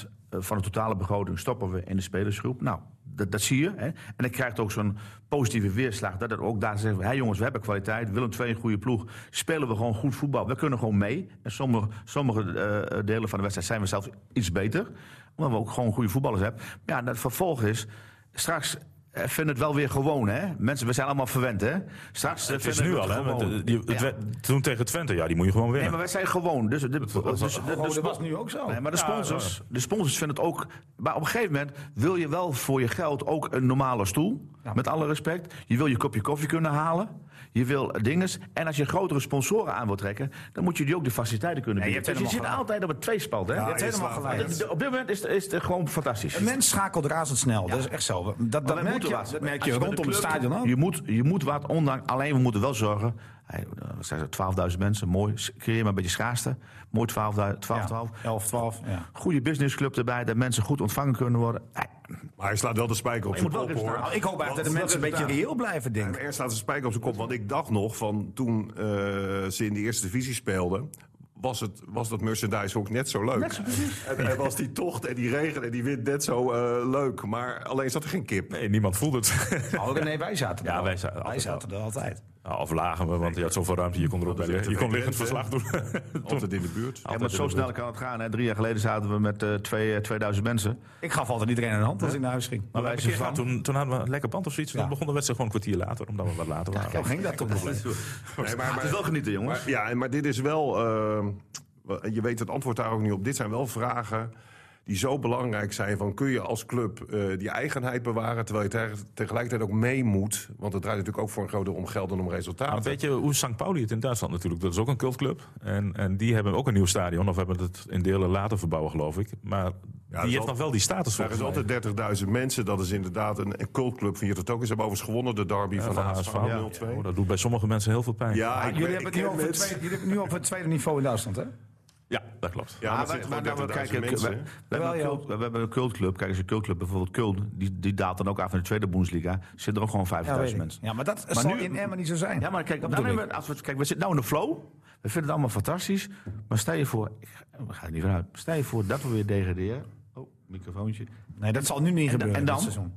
S5: 80% van de totale begroting stoppen we in de spelersgroep. Nou, dat, dat zie je. Hè? En dan krijgt ook zo'n positieve weerslag. Dat het ook daar zegt, hé jongens, we hebben kwaliteit. Willem II een goede ploeg. Spelen we gewoon goed voetbal. We kunnen gewoon mee. En sommige, sommige eh, delen van de wedstrijd zijn we zelfs iets beter. Omdat we ook gewoon goede voetballers hebben. Maar ja, dat vervolg is, straks... eh, vinden het wel weer gewoon, hè? Mensen, we zijn allemaal verwend, hè? Straks eh,
S2: Het is
S5: vinden
S2: nu
S5: we
S2: al, hè? want,
S5: gewoon.
S2: eh, die- het
S5: Ja.
S2: werd- Toen tegen Twente, ja, die moet je gewoon
S5: Nee,
S2: winnen.
S5: maar wij zijn gewoon. Dus, de, dus, dus-
S3: Oh, dat was nu ook zo.
S5: Nee, maar de sponsors, de sponsors vinden het ook. Maar op een gegeven moment wil je wel voor je geld ook een normale stoel. Met alle respect. Je wil je kopje koffie kunnen halen. Je wil dinges. En als je grotere sponsoren aan wil trekken, dan moet je die ook de faciliteiten kunnen
S3: Nee,
S5: bieden.
S3: je hebt
S5: dus je zit
S3: helemaal
S5: altijd op het tweespalt. Hè?
S3: je hebt helemaal gelijk.
S5: Dat- dat- Op dit moment is, het- is het gewoon fantastisch.
S3: Een mens schakelt razendsnel. Dat is echt zo. Dat, dat,
S5: Maar wij
S3: merk,
S5: moeten
S3: je,
S5: wat.
S3: dat merk
S5: Als
S3: je
S5: bij de
S3: rondom het
S5: club-
S3: stadion ook.
S5: Je moet, je moet wat, ondanks. Alleen we moeten wel zorgen. Hey, eh, wat zijn ze, 12.000 mensen, mooi. s- Creëer maar een beetje schaarste. Mooi 12.000, 12, 12.
S3: 11, 12. Ja.
S5: Goede businessclub erbij, dat mensen goed ontvangen kunnen worden. Hey,
S4: Maar hij slaat wel de spijker op
S5: je
S4: zijn
S5: moet wel
S4: kop, hoor.
S5: resultaat.
S3: Ik hoop
S4: Want-
S3: eigenlijk dat de mensen een beetje reëel blijven denken.
S4: Er staat een spijker op zijn kop, want ik dacht nog van toen eh, ze in de eerste divisie speelden. Was, het, was dat merchandise ook net zo leuk? en, en was die tocht en die regen en die wind net zo eh, leuk. Maar alleen zat er geen kip.
S2: Nee, niemand voelde het.
S3: Oh, nee, wij zaten er
S2: Ja,
S3: al.
S2: wij zaten altijd
S3: zaten er altijd.
S2: Nou, of lagen we, want je had zoveel ruimte. Je kon erop bij liggen. Je kon liggend verslag doen.
S4: Altijd in de buurt.
S5: Ja, maar zo snel kan het gaan. Hè. Drie jaar geleden zaten we met eh, twee, eh, 2000 mensen.
S3: Ik gaf altijd iedereen een hand als ik naar huis ging.
S2: Maar wij
S5: Wijze
S2: zijn
S5: van.
S2: toen, toen hadden we een lekker band of zoiets. en
S3: Ja.
S2: Toen begon de wedstrijd gewoon een kwartier later, omdat we wat later waren.
S3: Hoe ging dat toch?
S4: Nee, maar-
S5: Maar, het is wel genieten, jongens.
S4: Maar, ja, en- maar dit is wel. eh, wel- je weet het antwoord daar ook niet op. Dit zijn wel vragen die zo belangrijk zijn. Van kun je als club eh, die eigenheid bewaren. terwijl je teg- tegelijkertijd ook mee moet. Want het draait natuurlijk ook voor een groot deel om geld en om
S2: Maar
S4: resultaten.
S2: weet je hoe St. Pauli het in Duitsland natuurlijk? Dat is ook een cultclub. En, en die hebben ook een nieuw stadion. Of hebben het in delen later verbouwen, geloof ik. Maar die
S4: is
S2: heeft
S4: al-
S2: nog wel die status
S4: Er
S2: volgens
S4: is
S2: mij.
S4: altijd 30.000 mensen. Dat is inderdaad een, een cultclub. Vind je dat ook eens? Ze hebben overigens gewonnen de derby
S2: Ja,
S4: van,
S2: van
S4: HSV
S2: HSV. Ja.
S4: 0-2.
S2: Oh, dat doet bij sommige mensen heel veel pijn.
S4: Ja, ik
S3: Jullie
S4: weet-
S3: hebben het
S4: ik
S3: nu
S4: ken
S3: over het
S4: mensen.
S3: tweede- jullie hebben het nu over het tweede niveau in Duitsland, hè?
S2: Ja, dat klopt.
S4: Ja, Ah, maar
S5: wij-
S4: het
S5: maar
S4: zijn gewoon
S5: nou, kijk,
S4: 30.000 mensen.
S5: we-
S4: hè?
S5: We hebben,
S3: Jawel,
S5: een
S3: joh.
S5: cult, we hebben een cultclub. Kijk, eens een cultclub, bijvoorbeeld Köln, die, die daalt dan ook af in de tweede Bundesliga. Zitten er ook gewoon 5000 mensen.
S3: Ja, maar dat
S5: Maar
S3: zal
S5: nu-
S3: in Emmen niet zo zijn.
S5: Ja, maar kijk,
S3: Dat
S5: dan
S3: bedoel
S5: hebben we, als we, kijk, we zitten nou in de flow. We vinden het allemaal fantastisch. Maar stel je voor, ik ga- we gaan er niet vanuit. Stel je voor dat we weer degraderen. Oh, microfoontje.
S3: Nee, dat zal nu niet
S5: dan-
S3: gebeuren.
S5: en
S3: dit
S5: dan?
S3: seizoen.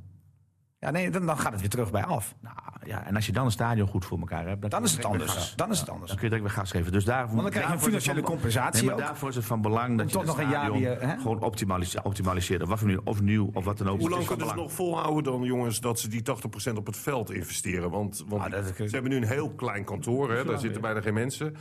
S3: Ja, nee, dan, dan gaat het weer terug bij af.
S5: Nou ja, en als je dan een stadion goed voor elkaar hebt,
S3: Dan is het
S5: direct weer
S3: anders.
S5: gas.
S3: Dan is het anders.
S5: Dan kun je direct weer gas geven. Dus daarvoor,
S3: Want dan krijg je
S5: daarvoor is het
S3: financiële
S5: van-
S3: compensatie
S5: Nee, maar
S3: ook.
S5: daarvoor is het van belang dat
S3: toch
S5: je het
S3: nog een jaar
S5: stadion
S3: weer, hè?
S5: gewoon optimalise- optimaliseert. Of, wat voor nu, of nieuw, of wat dan ook.
S4: Hoe
S5: Het
S4: lang
S5: is van
S4: kunnen ze
S5: belang.
S4: nog volhouden dan, jongens, dat ze die 80% op het veld investeren? Want, want
S3: Ah, dat is-
S4: ze hebben nu een heel klein kantoor, hè? daar zitten bijna geen mensen.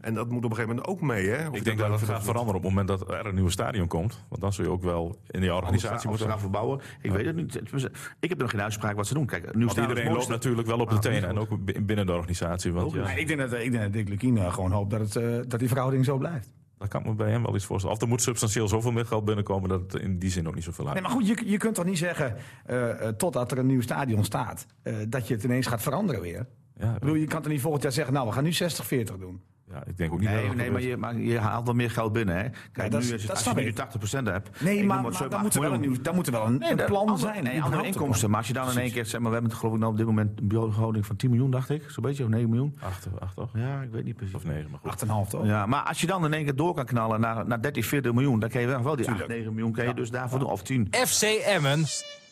S4: En dat moet op een gegeven moment ook mee, hè? Of
S2: Ik denk dat het
S4: dat-
S2: gaat veranderen op het moment dat er een nieuw stadion komt. Want dan zul je ook wel in die organisatie
S5: Organisatie moet
S2: moeten...
S5: gaan verbouwen. Ik weet het niet. Tenminste, Ik heb nog geen uitspraak wat ze doen. Kijk, nu
S2: Want iedereen loopt natuurlijk wel op de tenen. En ook bi- binnen de organisatie. Want ja,
S3: Nee, ik, denk dat, ik denk dat Dick Lukien eh, gewoon hoopt dat, het, eh, dat die verhouding zo blijft.
S2: daar kan ik me bij hem wel iets voorstellen. Of er moet substantieel zoveel meer geld binnenkomen... dat het in die zin ook niet zoveel
S3: Nee,
S2: uit.
S3: maar goed, je, je kunt toch niet zeggen, eh, eh, totdat er een nieuw stadion staat, eh, dat je het ineens gaat veranderen weer.
S2: Ja,
S3: Ik bedoel, je kan toch niet volgend jaar zeggen, nou, we gaan nu 60-40 doen.
S2: ja, ik denk ook niet dat
S5: Nee,
S2: dat
S5: nee maar,
S2: gebeurt.
S5: je, maar je haalt wel meer geld binnen. Hè. Kijk,
S3: dat is-
S5: nu, is het-
S3: dat
S5: als je
S3: snap
S5: nu
S3: ik.
S5: 80% hebt.
S3: Nee,
S5: ik noem
S3: maar,
S5: het
S3: maar
S5: zo,
S3: dan,
S5: maar
S3: moet er wel een,
S5: miljoen.
S3: nieuw- dan moet er wel een, een
S5: Nee,
S3: plan
S5: andere-
S3: zijn.
S5: Nee, andere
S3: überhaupt een
S5: inkomsten. Maar als je dan in één keer zeg maar, we hebben het geloof ik nou op dit moment een behouding van 10 miljoen, dacht ik. Zo'n beetje, of 9 miljoen.
S2: Acht, acht toch?
S5: Ja, ik weet niet precies.
S2: Of negen, maar goed.
S3: plan. 8,5 toch?
S5: Ja, maar als je dan in één keer door kan knallen naar, naar 13, 14 miljoen, dan kan je wel, wel die 8, 9 miljoen kan je dus daarvoor doen. Of 10.
S7: FC Emmen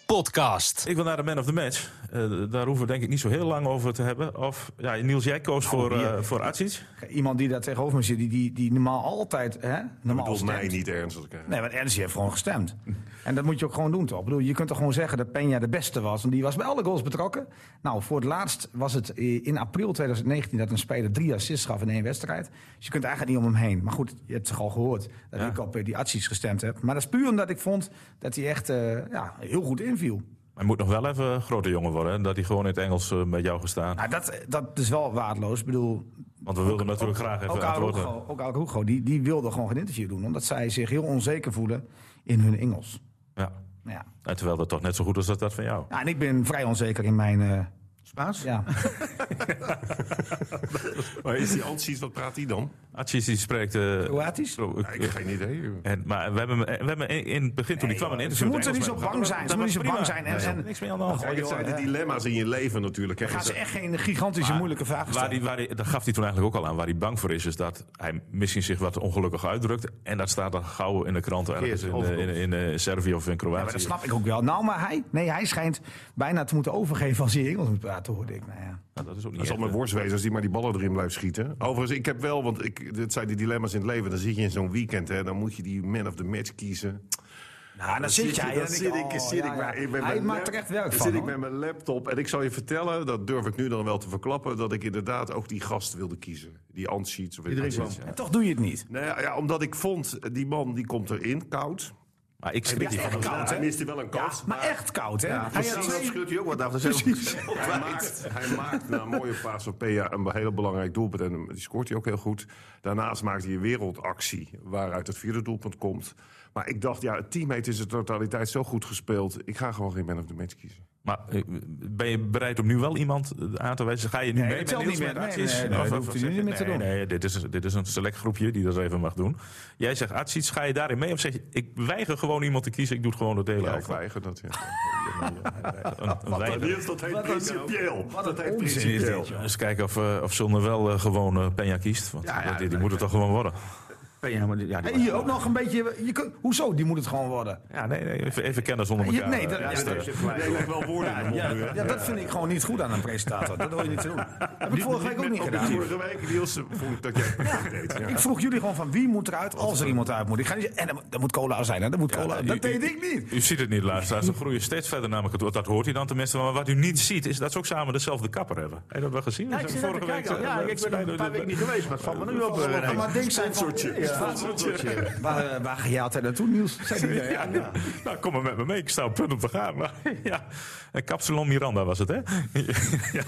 S7: podcast.
S2: Ik wil naar de man of the match. Eh, daar hoeven we denk ik niet zo heel lang over te hebben. Of ja, Niels, jij koos
S3: Nou,
S2: voor, eh voor Atsic.
S3: Iemand die daar tegenover me zit, die, die, die normaal altijd... Hè, normaal
S4: Volgens mij
S3: stemt.
S4: niet ernstig. hè?
S3: Nee, want Ernst heeft gewoon gestemd. En dat moet je ook gewoon doen, toch? Ik bedoel, je kunt toch gewoon zeggen dat Peña de beste was. Want die was bij alle goals betrokken. Nou, voor het laatst was het eh, in april 2019 dat een speler drie assists gaf in één wedstrijd. Dus je kunt eigenlijk niet om hem heen. Maar goed, je hebt toch al gehoord dat ik op eh, die acties gestemd heb. Maar dat is puur omdat ik vond dat hij echt eh, ja, heel goed inviel.
S2: Hij moet nog wel even een grote jongen worden. Hè? Dat hij gewoon in het Engels eh, met jou gestaan.
S3: Nou, dat, dat is wel waardeloos. Ik bedoel,
S2: Want we wilden natuurlijk graag even
S3: ook
S2: antwoorden.
S3: Arugo, ook Arugo die, die wilde gewoon geen interview doen. Omdat zij zich heel onzeker voelen in hun Engels.
S2: Ja.
S3: Nou Ja.
S2: En terwijl dat toch net zo goed is als dat van jou.
S3: Ja, en ik ben vrij onzeker in mijn... eh,
S5: Spaans?
S3: Ja.
S4: Maar is die Antsies, wat praat die dan?
S2: Atjes die spreekt... eh,
S3: Kroatisch?
S2: Kro-
S4: Ik heb geen idee.
S2: en, maar we hebben, eh, we hebben in, in het begin, toen ik kwam, een
S3: Ze
S2: interview...
S3: moeten
S2: met
S3: niet
S2: Engels
S3: zo
S2: met-
S3: bang zijn. Ze
S2: Dat
S3: moeten niet zo
S2: was
S3: bang
S2: prima.
S3: zijn. En, en,
S2: Nee, Niks meer aan de hand.
S3: Ja,
S4: Kijk, het
S3: joh,
S4: zijn de
S3: hè.
S4: dilemma's in je leven natuurlijk. hè.
S3: gaan ze echt geen gigantische moeilijke vragen
S2: Waar
S3: stellen.
S2: die, waar die, daar gaf hij toen eigenlijk ook al aan. Waar hij bang voor is, is dat hij misschien zich wat ongelukkig uitdrukt. En dat staat dan gauw in de krant ergens in, eh, in, in, eh, Servië of in Kroatië.
S3: Ja, maar dat snap ik ook wel. Nou, maar hij, nee, hij schijnt bijna te moeten overgeven als hij Engels moet praten, hoorde ik. Nou ja.
S2: Nou, dat is ook niet
S4: Dat zal
S2: echt,
S4: mijn
S2: eh,
S4: worst wezen als die maar die ballen erin blijft schieten. Overigens, ik heb wel, want ik, dit zijn die dilemma's in het leven. Dan zit je in zo'n weekend, hè, dan moet je die man of the match kiezen.
S3: Nou, dan, zit jij.
S4: Dan zit ik,
S3: oh,
S4: zit
S3: ja,
S4: ik maar-
S3: ja.
S4: ik ben
S3: Hij
S4: mijn
S3: maakt
S4: lap-
S3: er echt werk
S4: dan
S3: van.
S4: zit ik
S3: hoor.
S4: met mijn laptop en ik zal je vertellen, dat durf ik nu dan wel te verklappen, dat ik inderdaad ook die gast wilde kiezen. Die Anschiets. of weet ik
S5: Iedereen
S4: wat.
S3: En toch doe je het niet.
S4: Nou ja, ja, omdat ik vond, eh, die man die komt erin, koud.
S2: Maar ik schrik
S3: Ja,
S2: hiervan.
S3: echt
S4: Ja,
S3: koud,
S4: hij
S3: hè?
S4: miste wel een kans.
S3: Maar echt koud, hè? Hij had
S5: Precies,
S3: twee-
S5: dan schuurt hij ook wat af. Dat is heel
S4: Hij maakt, hij maakt na een mooie paas van Pea een hele belangrijk doelpunt. En die scoort hij ook heel goed. Daarnaast maakt hij een wereldactie waaruit het vierde doelpunt komt. Maar ik dacht, ja, het team heeft in zijn totaliteit zo goed gespeeld. Ik ga gewoon geen man of the match kiezen.
S2: Maar eh, ben je bereid om nu wel iemand eh, aan te wijzen? Ga je nu
S3: Nee,
S2: mee
S3: dat
S2: met
S3: telt
S2: Niels
S3: niet
S2: met
S3: meer. Nee,
S2: Atsic?
S3: nee, nee,
S2: Of-
S3: dat
S2: of-
S3: hoeft hij nu niet meer te
S2: nee,
S3: doen.
S2: Nee, dit is, dit is een select groepje die dat even mag doen. Jij zegt Atsic, ga je daarin mee? Of zeg je, ik weiger gewoon iemand te kiezen, ik doe het gewoon het hele
S4: Ja, ik
S2: elftal?
S4: weiger dat. Ja.
S2: Een- een weiger.
S4: Niels, dat heet principieel. Dat heet
S3: onzin is dit,
S4: principieel.
S3: joh.
S2: Eens kijken of, eh, of Zonne wel eh, gewoon eh, Peña kiest. Want
S5: Ja, ja,
S2: die, die
S5: nee,
S2: moet het toch gewoon worden?
S5: Ja, maar die- ja, die-
S3: Hier ook nog een beetje. Je kunt, hoezo? Die moet het gewoon worden.
S2: Ja, nee, nee even, even kennen zonder
S3: Je,
S2: elkaar.
S3: nee,
S2: eh,
S3: dat, ja,
S2: eerst, eh,
S3: dat-
S4: Jij legt wel woorden in de mond
S3: ja,
S4: nu, hè?
S3: ja, dat vind ik gewoon niet goed aan een presentator. Dat hoor je niet te doen. Heb ik vorige week ook niet gedaan.
S4: Vorige week, Niels, vond ik dat jij het perfect deed. Ja.
S3: Ik vroeg jullie gewoon van wie moet eruit als er iemand uit moet. Ik ga niet zeggen, en dat, moet- dat moet cola zijn. Hè? Dat moet cola.
S2: u-
S3: dat deed
S2: u-
S3: ik niet.
S2: U ziet het niet, luisteraars. Ze groeien steeds verder namelijk. het- Dat hoort hij dan tenminste. Maar wat u niet ziet, is dat ze ook samen dezelfde kapper hebben. Heb je dat wel gezien?
S3: ik
S2: Ze
S3: zit
S2: vorige
S3: net te
S2: week.
S3: kijken. Ja,
S2: eh,
S3: ik ben
S2: bij
S3: een
S2: de-
S5: Een paar weken niet geweest, maar het valt me nu op. eh,
S3: Ja,
S5: René.
S3: maar denk zijn van, ja, Waar, eh, waar ga jij altijd naartoe, Niels? Zei die, ja, ja.
S2: Nou, kom maar met me mee. Ik sta op punt om te gaan. Maar, ja. En Capsalon Miranda was het, hè? ja.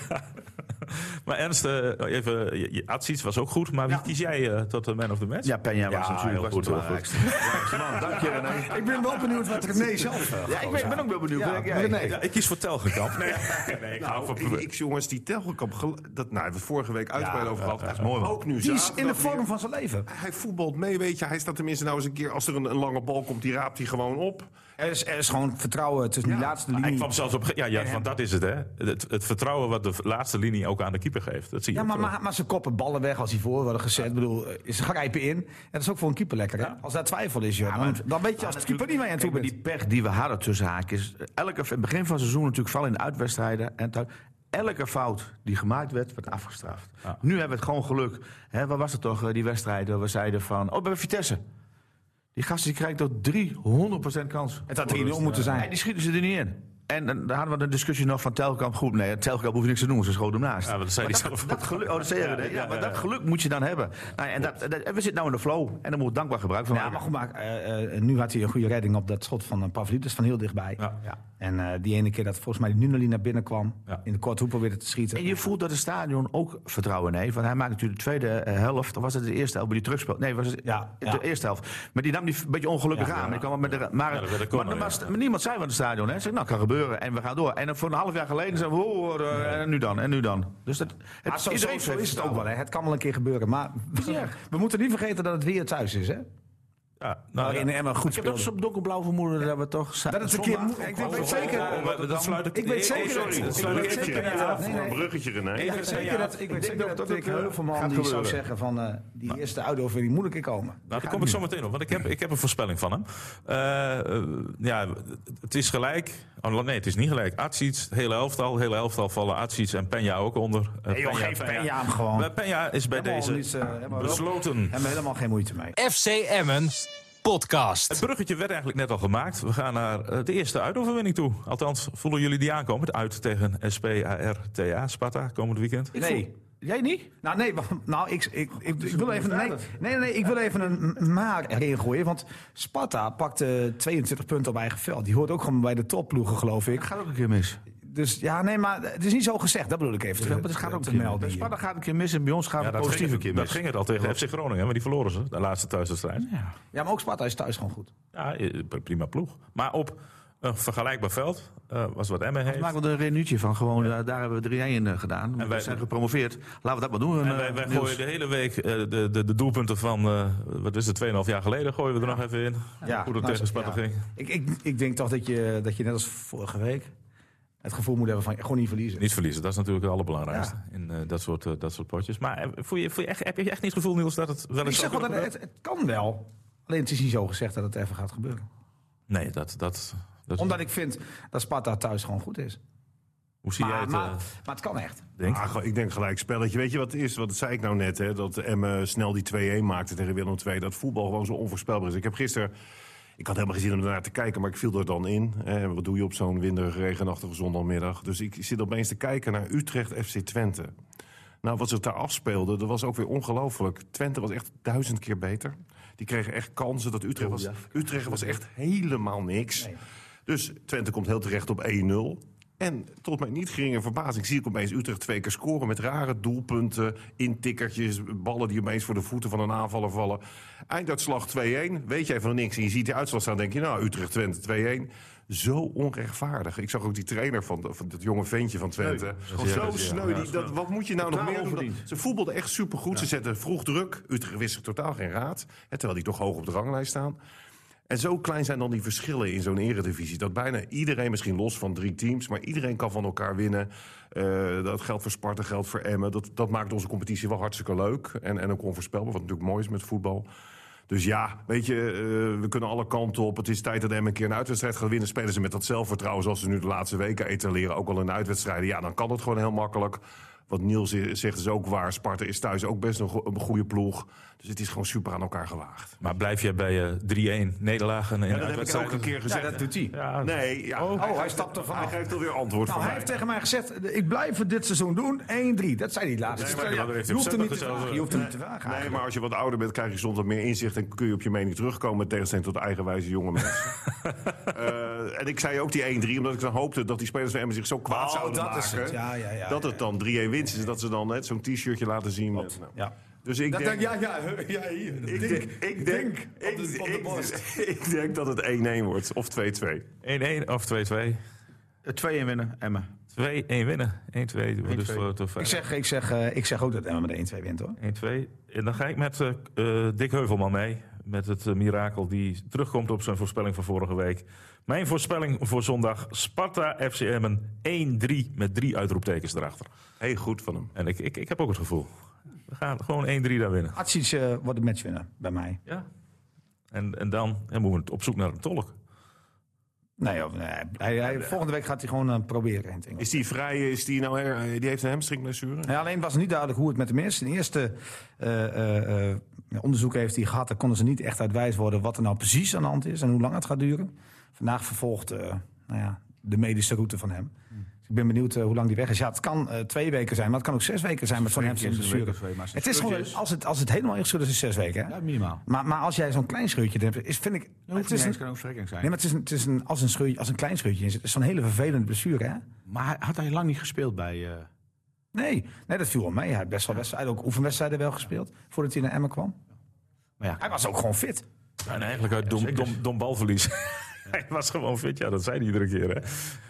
S2: Maar Ernst, eh, even, je- je- Atsiets was ook goed. Maar wie kies jij eh, tot de man of the match?
S5: Ja, Penja was
S2: Ja,
S5: natuurlijk
S2: heel
S5: was
S2: goed,
S5: het
S2: heel goed.
S5: belangrijkste. Man, dank je René.
S3: Ik ben wel benieuwd wat René zelf eh,
S5: Ja, ik ben, ik ben ook wel benieuwd.
S3: Ja,
S5: Kijk, jij.
S3: René.
S2: Ja, ik kies voor Telgenkamp. Nee, nee ik hou
S4: Nou,
S2: van...
S4: ik, ik, jongens, die Telgenkamp, gel- dat, nou, hebben we vorige week uitgebreid over gehad. Dat is
S2: mooi, man.
S4: Ook
S3: Die
S4: nu
S3: is in de
S4: zaterdag
S3: vorm
S4: weer.
S3: van zijn leven.
S4: Hij voetbalt mee, weet je. Hij staat tenminste nou eens een keer, als er een, een lange bal komt, die raapt hij gewoon op.
S3: Er is, er is gewoon vertrouwen tussen die laatste
S2: Hij
S3: linie.
S2: Nou, kwam zelfs op. Ja, ja want dat is het, hè? Het, het vertrouwen wat de laatste linie ook aan de keeper geeft. Dat zie je.
S3: Ja,
S2: ook
S3: maar,
S2: terug.
S3: maar, maar ze koppen ballen weg als die voor worden gezet. Ik bedoel, eh, ze grijpen in. En dat is ook voor een keeper lekker, hè? Als daar twijfel is, joh, dan, dan weet je als de keeper niet mee aan toe
S5: Kijk, maar
S3: bent.
S5: die pech die we hadden tussen haakjes. Elke, het begin van het seizoen natuurlijk, vooral in de uitwedstrijden en thuis. Elke fout die gemaakt werd, werd afgestraft. Nu hebben we het gewoon geluk. Hè, wat was het toch, eh, die wedstrijd waar we zeiden van... Oh, bij Vitesse. Die gasten die krijgen tot 300% kans.
S3: Het had 3-0 moeten
S5: En
S3: zijn.
S5: die schieten ze er niet in. En, dan daar hadden we de discussie nog van Telkamp. Goed, nee, Telkamp hoeft niks te doen. Ze schoten hem naast.
S2: Ja, maar dat zei
S5: Maar
S2: hij zelf ook.
S5: Dat geluk, oh, dat zei hij, hè? ja, maar dat geluk moet je dan hebben. Nou, en, dat, dat- en we zitten nou in de flow. En daar moet dankbaar gebruik van
S3: Ja,
S5: maken.
S3: maar goed, maar eh, eh, nu had hij een goede redding op dat schot van uh, Pavlidis van heel dichtbij.
S2: Ja.
S3: En eh, die ene keer dat volgens mij Nunali naar binnen kwam.
S2: Ja.
S3: In de korte hoek probeerde te schieten.
S5: En je voelt dat het stadion ook vertrouwen heeft. Want hij maakt natuurlijk de tweede eh, helft. Of was het de eerste helft die terugspeelt? Nee, was het
S3: Ja,
S5: de
S3: ja.
S5: eerste helft. Maar die nam die een beetje ongelukkig
S3: Ja,
S5: aan.
S3: ja.
S5: Die kwam met de,
S2: dat
S5: maar,
S2: werd een
S5: maar,
S2: corner,
S5: er
S2: ja.
S5: was- maar niemand zei van het stadion. Hè. Ze zei, nou, kan gebeuren. En we gaan door. En dan voor een half jaar geleden zeiden we... oh, oh, eh, en nu dan, en nu dan. Dus dat, het,
S3: Maar Ah, zo, zo-
S5: iedereen
S3: zo
S5: heeft
S3: is het ook wel.
S5: vertrouwen.
S3: Hè. Het kan wel een keer gebeuren. Maar we moeten niet vergeten dat het weer thuis is. Hè?
S2: Ja, nou,
S3: Waarin
S2: ja.
S3: Emma goed
S5: Ik heb Oh,
S3: speelde.
S5: dat eens op donkerblauw vermoeden dat we toch...
S3: Dat het een keer moet. Ik denk- weet zeker.
S2: Oh, we- we- dat sluit het-
S3: Ik weet
S2: eh,
S3: zeker
S2: oh, sorry.
S3: dat-
S2: Dat
S3: ik
S2: sluit
S3: weet
S2: het-
S3: zeker dat-
S4: Ja,
S3: nee,
S4: voor een
S3: nee.
S4: bruggetje, René.
S3: Ik weet zeker dat ik weet zeker dat Dick
S5: eh,
S3: Heuvelman die zou zeggen van eh, die eerste auto vind ik moeilijk in komen.
S2: Nou, daar kom ik zo meteen op, want ik heb, ik heb een voorspelling van hem. Eh, eh, ja, het is gelijk. Oh, nee, het is niet gelijk. Atsiets, hele elftal, hele elftal vallen Atsiets en Penja ook onder. Eh,
S3: Nee, joh, geef Peña hem gewoon.
S2: Maar Peña is bij
S3: Helemaal
S2: deze
S3: niet, eh, helemaal
S2: besloten.
S3: Hebben we helemaal geen moeite mee.
S7: FC Emmen
S2: Het
S7: podcast.
S2: bruggetje werd eigenlijk net al gemaakt. We gaan naar eh, de eerste uitoverwinning toe. Althans, voelen jullie die aankomen? Het uit tegen SPARTA, Sparta, komend weekend.
S3: Nee.
S5: Jij niet?
S3: Nou, nee, wacht, nou, ik, ik, ik, ik wil even, nee, nee, nee, ik wil even een maar erin gooien. Want Sparta pakte 22 punten op eigen veld. Die hoort ook gewoon bij de topploegen, geloof ik.
S5: Dat gaat ook een keer mis.
S3: Dus ja, nee, maar het is niet zo gezegd. Dat bedoel ik even. te-
S5: Maar Dus dat gaat ook
S3: te
S5: een keer
S3: melden
S5: mis.
S3: hier.
S5: Sparta gaat een keer mis en bij ons gaat
S2: Ja,
S5: het
S2: dat,
S5: positief een
S2: ging,
S5: keer
S2: dat
S5: mis.
S2: ging het al tegen FC Groningen, maar die verloren ze. De laatste thuiswedstrijd.
S3: Ja, maar ook Sparta is thuis gewoon goed.
S2: Ja, eh, prima ploeg. Maar op Een vergelijkbaar veld eh, als wat Emmen heeft.
S5: Maak er een renuutje van. Gewoon, eh, daar hebben we 3-1 in gedaan.
S2: En
S5: we
S2: wij-
S5: zijn gepromoveerd. Laten we dat maar doen.
S2: En
S5: eh,
S2: wij, wij
S5: Niels.
S2: gooien de hele week eh, de, de, de doelpunten van, eh, wat is het, 2,5 jaar geleden gooien we er nog even in.
S3: Ja,
S2: Hoe dat
S3: nou,
S2: tegen Sparta
S3: ja.
S2: ging.
S3: Ik, ik, ik denk toch dat je, dat je net als vorige week het gevoel moet hebben van gewoon niet verliezen.
S2: Niet verliezen, dat is natuurlijk het allerbelangrijkste in eh, dat, soort, eh, dat soort potjes. Maar eh, voel je, voel je echt, heb je echt niet het gevoel, Niels, dat het wel
S3: ik
S2: eens
S3: zeg
S2: zou
S3: wel dat
S2: kunnen
S3: het, het kan wel. Alleen het is niet zo gezegd dat het even gaat gebeuren.
S2: gebeuren? Nee, dat... dat, dat
S3: Omdat ik vind dat Sparta thuis gewoon goed is.
S2: hoe zie jij
S3: Maar,
S2: het,
S3: maar,
S2: eh,
S3: maar het kan echt.
S2: Henk?
S4: Ah, gewoon- ik denk gelijk spelletje. Weet je wat het is? Wat zei ik nou net, hè? dat Emme snel die 2-1 maakte tegen Willem II. Dat voetbal gewoon zo onvoorspelbaar is. Ik heb gisteren... Ik had helemaal geen zin om daarnaar te kijken, maar ik viel er dan in. Eh, wat doe je op zo'n winderige, regenachtige zondagmiddag? Dus ik zit opeens te kijken naar Utrecht FC Twente. Nou, wat zich daar afspeelde, dat was ook weer ongelooflijk. Twente was echt duizend keer beter. Die kregen echt kansen. Dat Utrecht, was, Utrecht was echt helemaal niks. Dus Twente komt heel terecht op 1-0. En tot mijn niet geringe verbazing zie ik opeens Utrecht twee keer scoren... met rare doelpunten, intikkertjes, ballen die opeens voor de voeten van een aanvaller vallen. Einduitslag 2-1, weet jij van niks. En je ziet die uitslag staan, denk je, nou, Utrecht-Twente 2-1. Zo onrechtvaardig. Ik zag ook die trainer van, van dat jonge ventje van Twente. Zo sneu. die- dat, wat moet je nou nog
S5: Totaal
S4: meer doen? dan-
S5: onverdiend.
S4: Ze voetbalden echt supergoed. Ze zetten vroeg druk. Utrecht wist er totaal geen raad. Hè, terwijl die toch hoog op de ranglijst staan. En zo klein zijn dan die verschillen in zo'n eredivisie. Dat bijna iedereen, misschien los van drie teams, maar iedereen kan van elkaar winnen. Eh, dat geldt voor Sparta, geldt voor Emmen. Dat, dat maakt onze competitie wel hartstikke leuk. En, en ook onvoorspelbaar, wat natuurlijk mooi is met voetbal. Dus ja, weet je, eh, we kunnen alle kanten op. Het is tijd dat Emmen een keer een uitwedstrijd gaat winnen. Spelen ze met dat zelfvertrouwen zoals ze nu de laatste weken etaleren. Ook al in de uitwedstrijden. Ja, dan kan het gewoon heel makkelijk. Wat Niels zegt is ook waar. Sparta is thuis ook best een, go- een goede ploeg. Dus het is gewoon super aan elkaar gewaagd.
S2: Maar blijf jij bij eh 3-1 nederlagen en
S4: Ja, dat heb ik ook een keer gezegd.
S3: Ja, dat doet hij.
S4: Nee, ja.
S3: Oh, hij stapt er
S4: Hij
S3: vanaf.
S4: geeft alweer antwoord
S3: Nou,
S4: van
S3: hij
S4: mij.
S3: heeft tegen mij gezegd, ik blijf het dit seizoen doen, 1-3. Dat zei hij het laatste.
S2: Nee,
S3: Dus,
S2: maar
S3: ja,
S2: dat heeft
S3: je
S2: hij
S3: hoeft hem
S2: op
S3: niet te
S2: zelf
S3: vragen.
S2: gezegd.
S3: Je hoeft hem niet te vragen.
S4: Nee,
S3: eigenlijk.
S4: maar als je wat ouder bent, krijg je soms wat meer inzicht... en kun je op je mening terugkomen in tegenstelling tot eigenwijze jonge mensen. Eh, en ik zei ook die 1-3, omdat ik dan hoopte dat die spelers van Emmen zich zo kwaad
S3: Oh,
S4: zouden
S3: dat
S4: maken...
S3: is het. Ja, ja, ja,
S4: dat het dan 3-1 winst is, dat ze dan net zo'n t-shirtje laten zien. Met, nou.
S3: Ja.
S4: Dus ik
S3: Dat denk,
S4: denk...
S3: ja, ja, he- ja, hier.
S4: ik denk, ik denk, ik,
S3: op de
S4: ik-
S3: borst.
S4: ik denk dat het 1-1 wordt, of 2-2.
S2: 1-1 of 2-2.
S5: 2-1 Eh, winnen, Emma.
S2: 2-1 winnen. 1-2. Dus voor, voor
S3: Ik zeg, ik, zeg, eh, ik zeg ook dat Emma met 1-2 wint hoor.
S2: 1-2. En dan ga ik met eh, k- eh, Dick Heuvelman mee. Met het eh, mirakel die terugkomt op zijn voorspelling van vorige week. Mijn voorspelling voor zondag. Sparta FCM 1-3 met drie uitroeptekens erachter.
S4: Heel goed van hem.
S2: En ik, ik, ik heb ook het gevoel. We gaan gewoon 1-3 daar winnen.
S3: Atsic eh, wordt de matchwinner bij mij.
S2: Ja. En, en dan ja, moeten we op zoek naar een tolk.
S3: Nee, of, nee hij, hij- volgende week gaat hij gewoon eh, proberen. in het Engels.
S4: Is die vrij, is die nou... her- Die heeft een hamstringblessure?
S3: Ja, alleen was niet duidelijk hoe het met hem is. Een eerste eh, eh, eh, onderzoek heeft hij gehad. Daar konden ze niet echt uit wijs worden wat er nou precies aan de hand is en hoe lang het gaat duren. Vandaag vervolgt eh, nou ja, de medische route van hem.
S5: Hm.
S3: Dus ik ben benieuwd eh, hoe lang die weg is. Ja, het kan eh, twee weken zijn, maar het kan ook zes weken zijn met zo'n hamstringblessure. Het is gewoon, als het, als het helemaal is, is het zes weken. Hè?
S5: Ja, minimaal.
S3: Maar, maar als jij zo'n klein scheurtje hebt, is, vind ik...
S5: Het
S3: Het is een,
S5: kan ook strekking zijn.
S3: nee, maar het is, een, het is een, als, een scheurtje, als een klein scheurtje in zit, is zo'n hele vervelende blessure, hè?
S5: maar... hij- had hij lang niet gespeeld bij... eh
S3: Nee, nee, dat viel wel mee. Hij had best wel wedstrijden, ook oefenwedstrijden wel gespeeld, voordat hij naar Emmen kwam.
S5: maar ja,
S3: Hij was ook gewoon fit.
S2: En eigenlijk uit dom, dom, dom balverlies. Hij was gewoon fit, ja, dat zei hij iedere keer. Hè?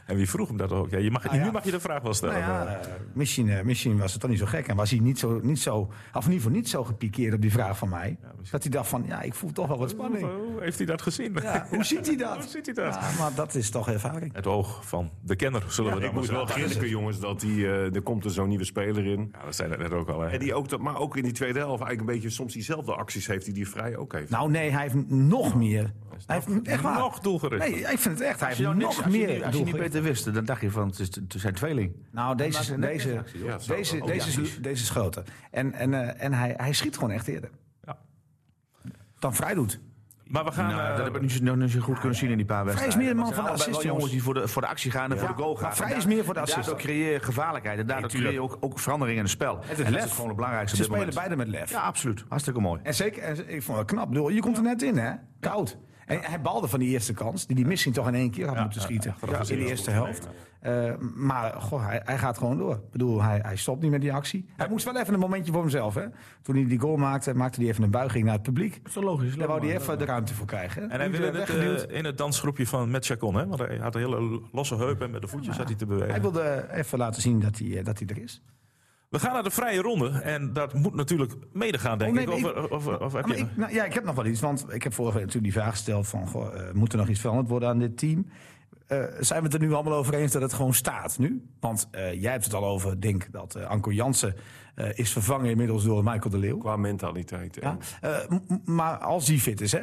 S2: En wie vroeg hem dat ook? Ja, je mag,
S3: ja.
S2: Nu mag je de vraag wel stellen.
S3: Nou ja,
S2: maar-
S3: eh, misschien, eh, misschien was het dan niet zo gek en was hij niet zo, niet zo of in ieder geval niet zo gepikeerd op die vraag van mij. dat hij dacht van, ja, ik voel toch wel wat
S2: Hoe-
S3: spanning.
S2: Hoe heeft hij dat gezien?
S3: Ja, hoe ziet hij dat?
S2: Hoe ziet hij dat?
S3: Ja, maar dat is toch ervaring.
S2: Het oog van de kenner, zullen we
S4: Ik
S2: dan
S4: moet
S2: maar
S4: wel
S2: zeggen.
S4: grinniken, jongens, dat die, eh, er komt er zo'n nieuwe speler in.
S2: Ja, dat zijn er net ook al. Hè.
S4: En die ook dat, maar ook in die tweede helft eigenlijk een beetje soms diezelfde acties heeft die die vrij ook heeft.
S3: Nou nee, hij heeft nog meer. Hij heeft echt waar.
S2: nog doelgericht.
S3: Nee, ik vind het echt. Hij
S5: Als je
S3: heeft
S5: nou niks-
S3: nog
S5: als je
S3: meer
S5: niet- Als je niet
S3: doelgericht.
S5: beter wist, dan dacht je van, het, is, het zijn tweeling.
S3: Nou, deze, is-
S5: maakt een
S3: deze,
S5: netactie, hoor.
S4: Ja, zo.
S3: deze,
S4: Oh,
S3: deze, is-
S4: ja,
S3: deze, is groter. En, en, eh, en hij, hij schiet gewoon echt eerder.
S2: Ja.
S3: Dan Vrij doet.
S2: Maar we gaan.
S5: Nou,
S2: eh,
S5: dat heb ik niet zo, nog niet zo goed kunnen zien in die paar wedstrijden.
S3: meer de man
S5: Dat zijn
S3: van de
S5: allebei wel
S3: assist,
S5: jongens
S3: jongens.
S5: die voor de, voor de actie gaan en voor de goal gaan.
S3: maar Vrij
S5: En
S3: is
S5: daar-
S3: meer voor de assist.
S5: Daardoor creëer je gevaarlijkheid en daardoor creëer je ook, ook verandering in het spel. En, dat is gewoon het belangrijkste
S3: Ze
S5: op
S3: spelen
S5: dit moment.
S3: beide met lef.
S5: Ja, absoluut. Hartstikke mooi.
S3: En zeker, en ze- ik vond het knap. Ik bedoel, je komt er net in, hè? Koud. En hij balde van die eerste kans, die hij misschien toch in één keer had moeten schieten. Ja, in de eerste helft. Eh, maar goh, hij, hij gaat gewoon door. Ik bedoel, hij, hij stopt niet met die actie. Hij moest wel even een momentje voor hemzelf. Hè? Toen hij die goal maakte, maakte hij even een buiging naar het publiek.
S5: is toch logisch?
S3: Daar wou hij even de ruimte voor krijgen.
S2: En hij
S3: Nu
S2: wilde het
S3: weggeduwd.
S2: eh, in het dansgroepje van met Chacon, hè? Want hij had een hele losse heup en met de voetjes zat hij te bewegen.
S3: Hij wilde even laten zien dat hij, eh, dat hij er is.
S2: We gaan naar de vrije ronde en dat moet natuurlijk medegaan, denk
S3: Oh, nee,
S2: ik.
S3: maar
S2: Of,
S3: ik-
S2: of, of, of heb
S3: Ah, maar
S2: je...
S3: ik, nou, ja, ik heb nog wel iets. Want ik heb vorige week natuurlijk die vraag gesteld van... Goh, eh, moet er nog iets veranderd worden aan dit team? Eh, zijn we het er nu allemaal over eens dat het gewoon staat nu? Want eh, jij hebt het al over, denk dat eh, Anko Jansen eh, is vervangen inmiddels door Michael de Leeuw.
S4: Qua mentaliteit.
S3: Ja?
S4: En,
S3: Eh, m- m- maar als die fit is, hè,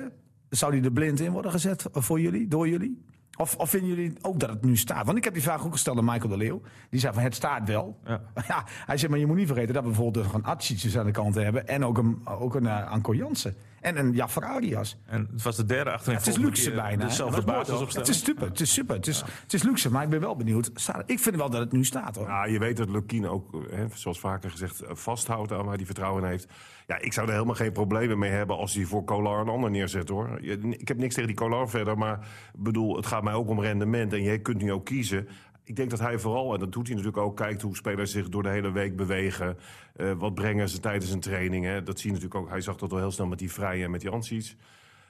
S3: zou die er blind in worden gezet eh, voor jullie, door jullie? Of, of vinden jullie ook dat het nu staat? Want ik heb die vraag ook gesteld aan Michael de Leeuw. Die zei van het staat wel. Ja. hij zei maar je moet niet vergeten dat we bijvoorbeeld een Atsitsjes aan de kant hebben. En ook een, ook een eh, Anko Jansen. En een Jaffer Arias.
S2: En het was de derde achterin.
S3: Het is luxe bijna. hè?
S2: Dezelfde
S3: Dat is mooi,
S2: basis
S3: toch?
S2: opstellen.
S3: Het is super, het is super. Het is, het is luxe, maar ik ben wel benieuwd. Staat- Ik vind wel dat het nu staat hoor.
S4: ja, Nou, je weet dat Lukien ook, eh, hè, zoals vaker gezegd, eh, vasthoudt aan waar hij vertrouwen in heeft. Ja, ik zou er helemaal geen problemen mee hebben als hij voor Kolar een ander neerzet, hoor. Je- Ik heb niks tegen die Kolar verder, maar ik bedoel, het gaat mij ook om rendement. En jij kunt nu ook kiezen. Ik denk dat hij vooral, en dat doet hij natuurlijk ook, kijkt hoe spelers zich door de hele week bewegen. Eh, wat brengen ze tijdens een training, hè. Dat zie je natuurlijk ook. Hij zag dat al heel snel met die Vrije en met die Ansies.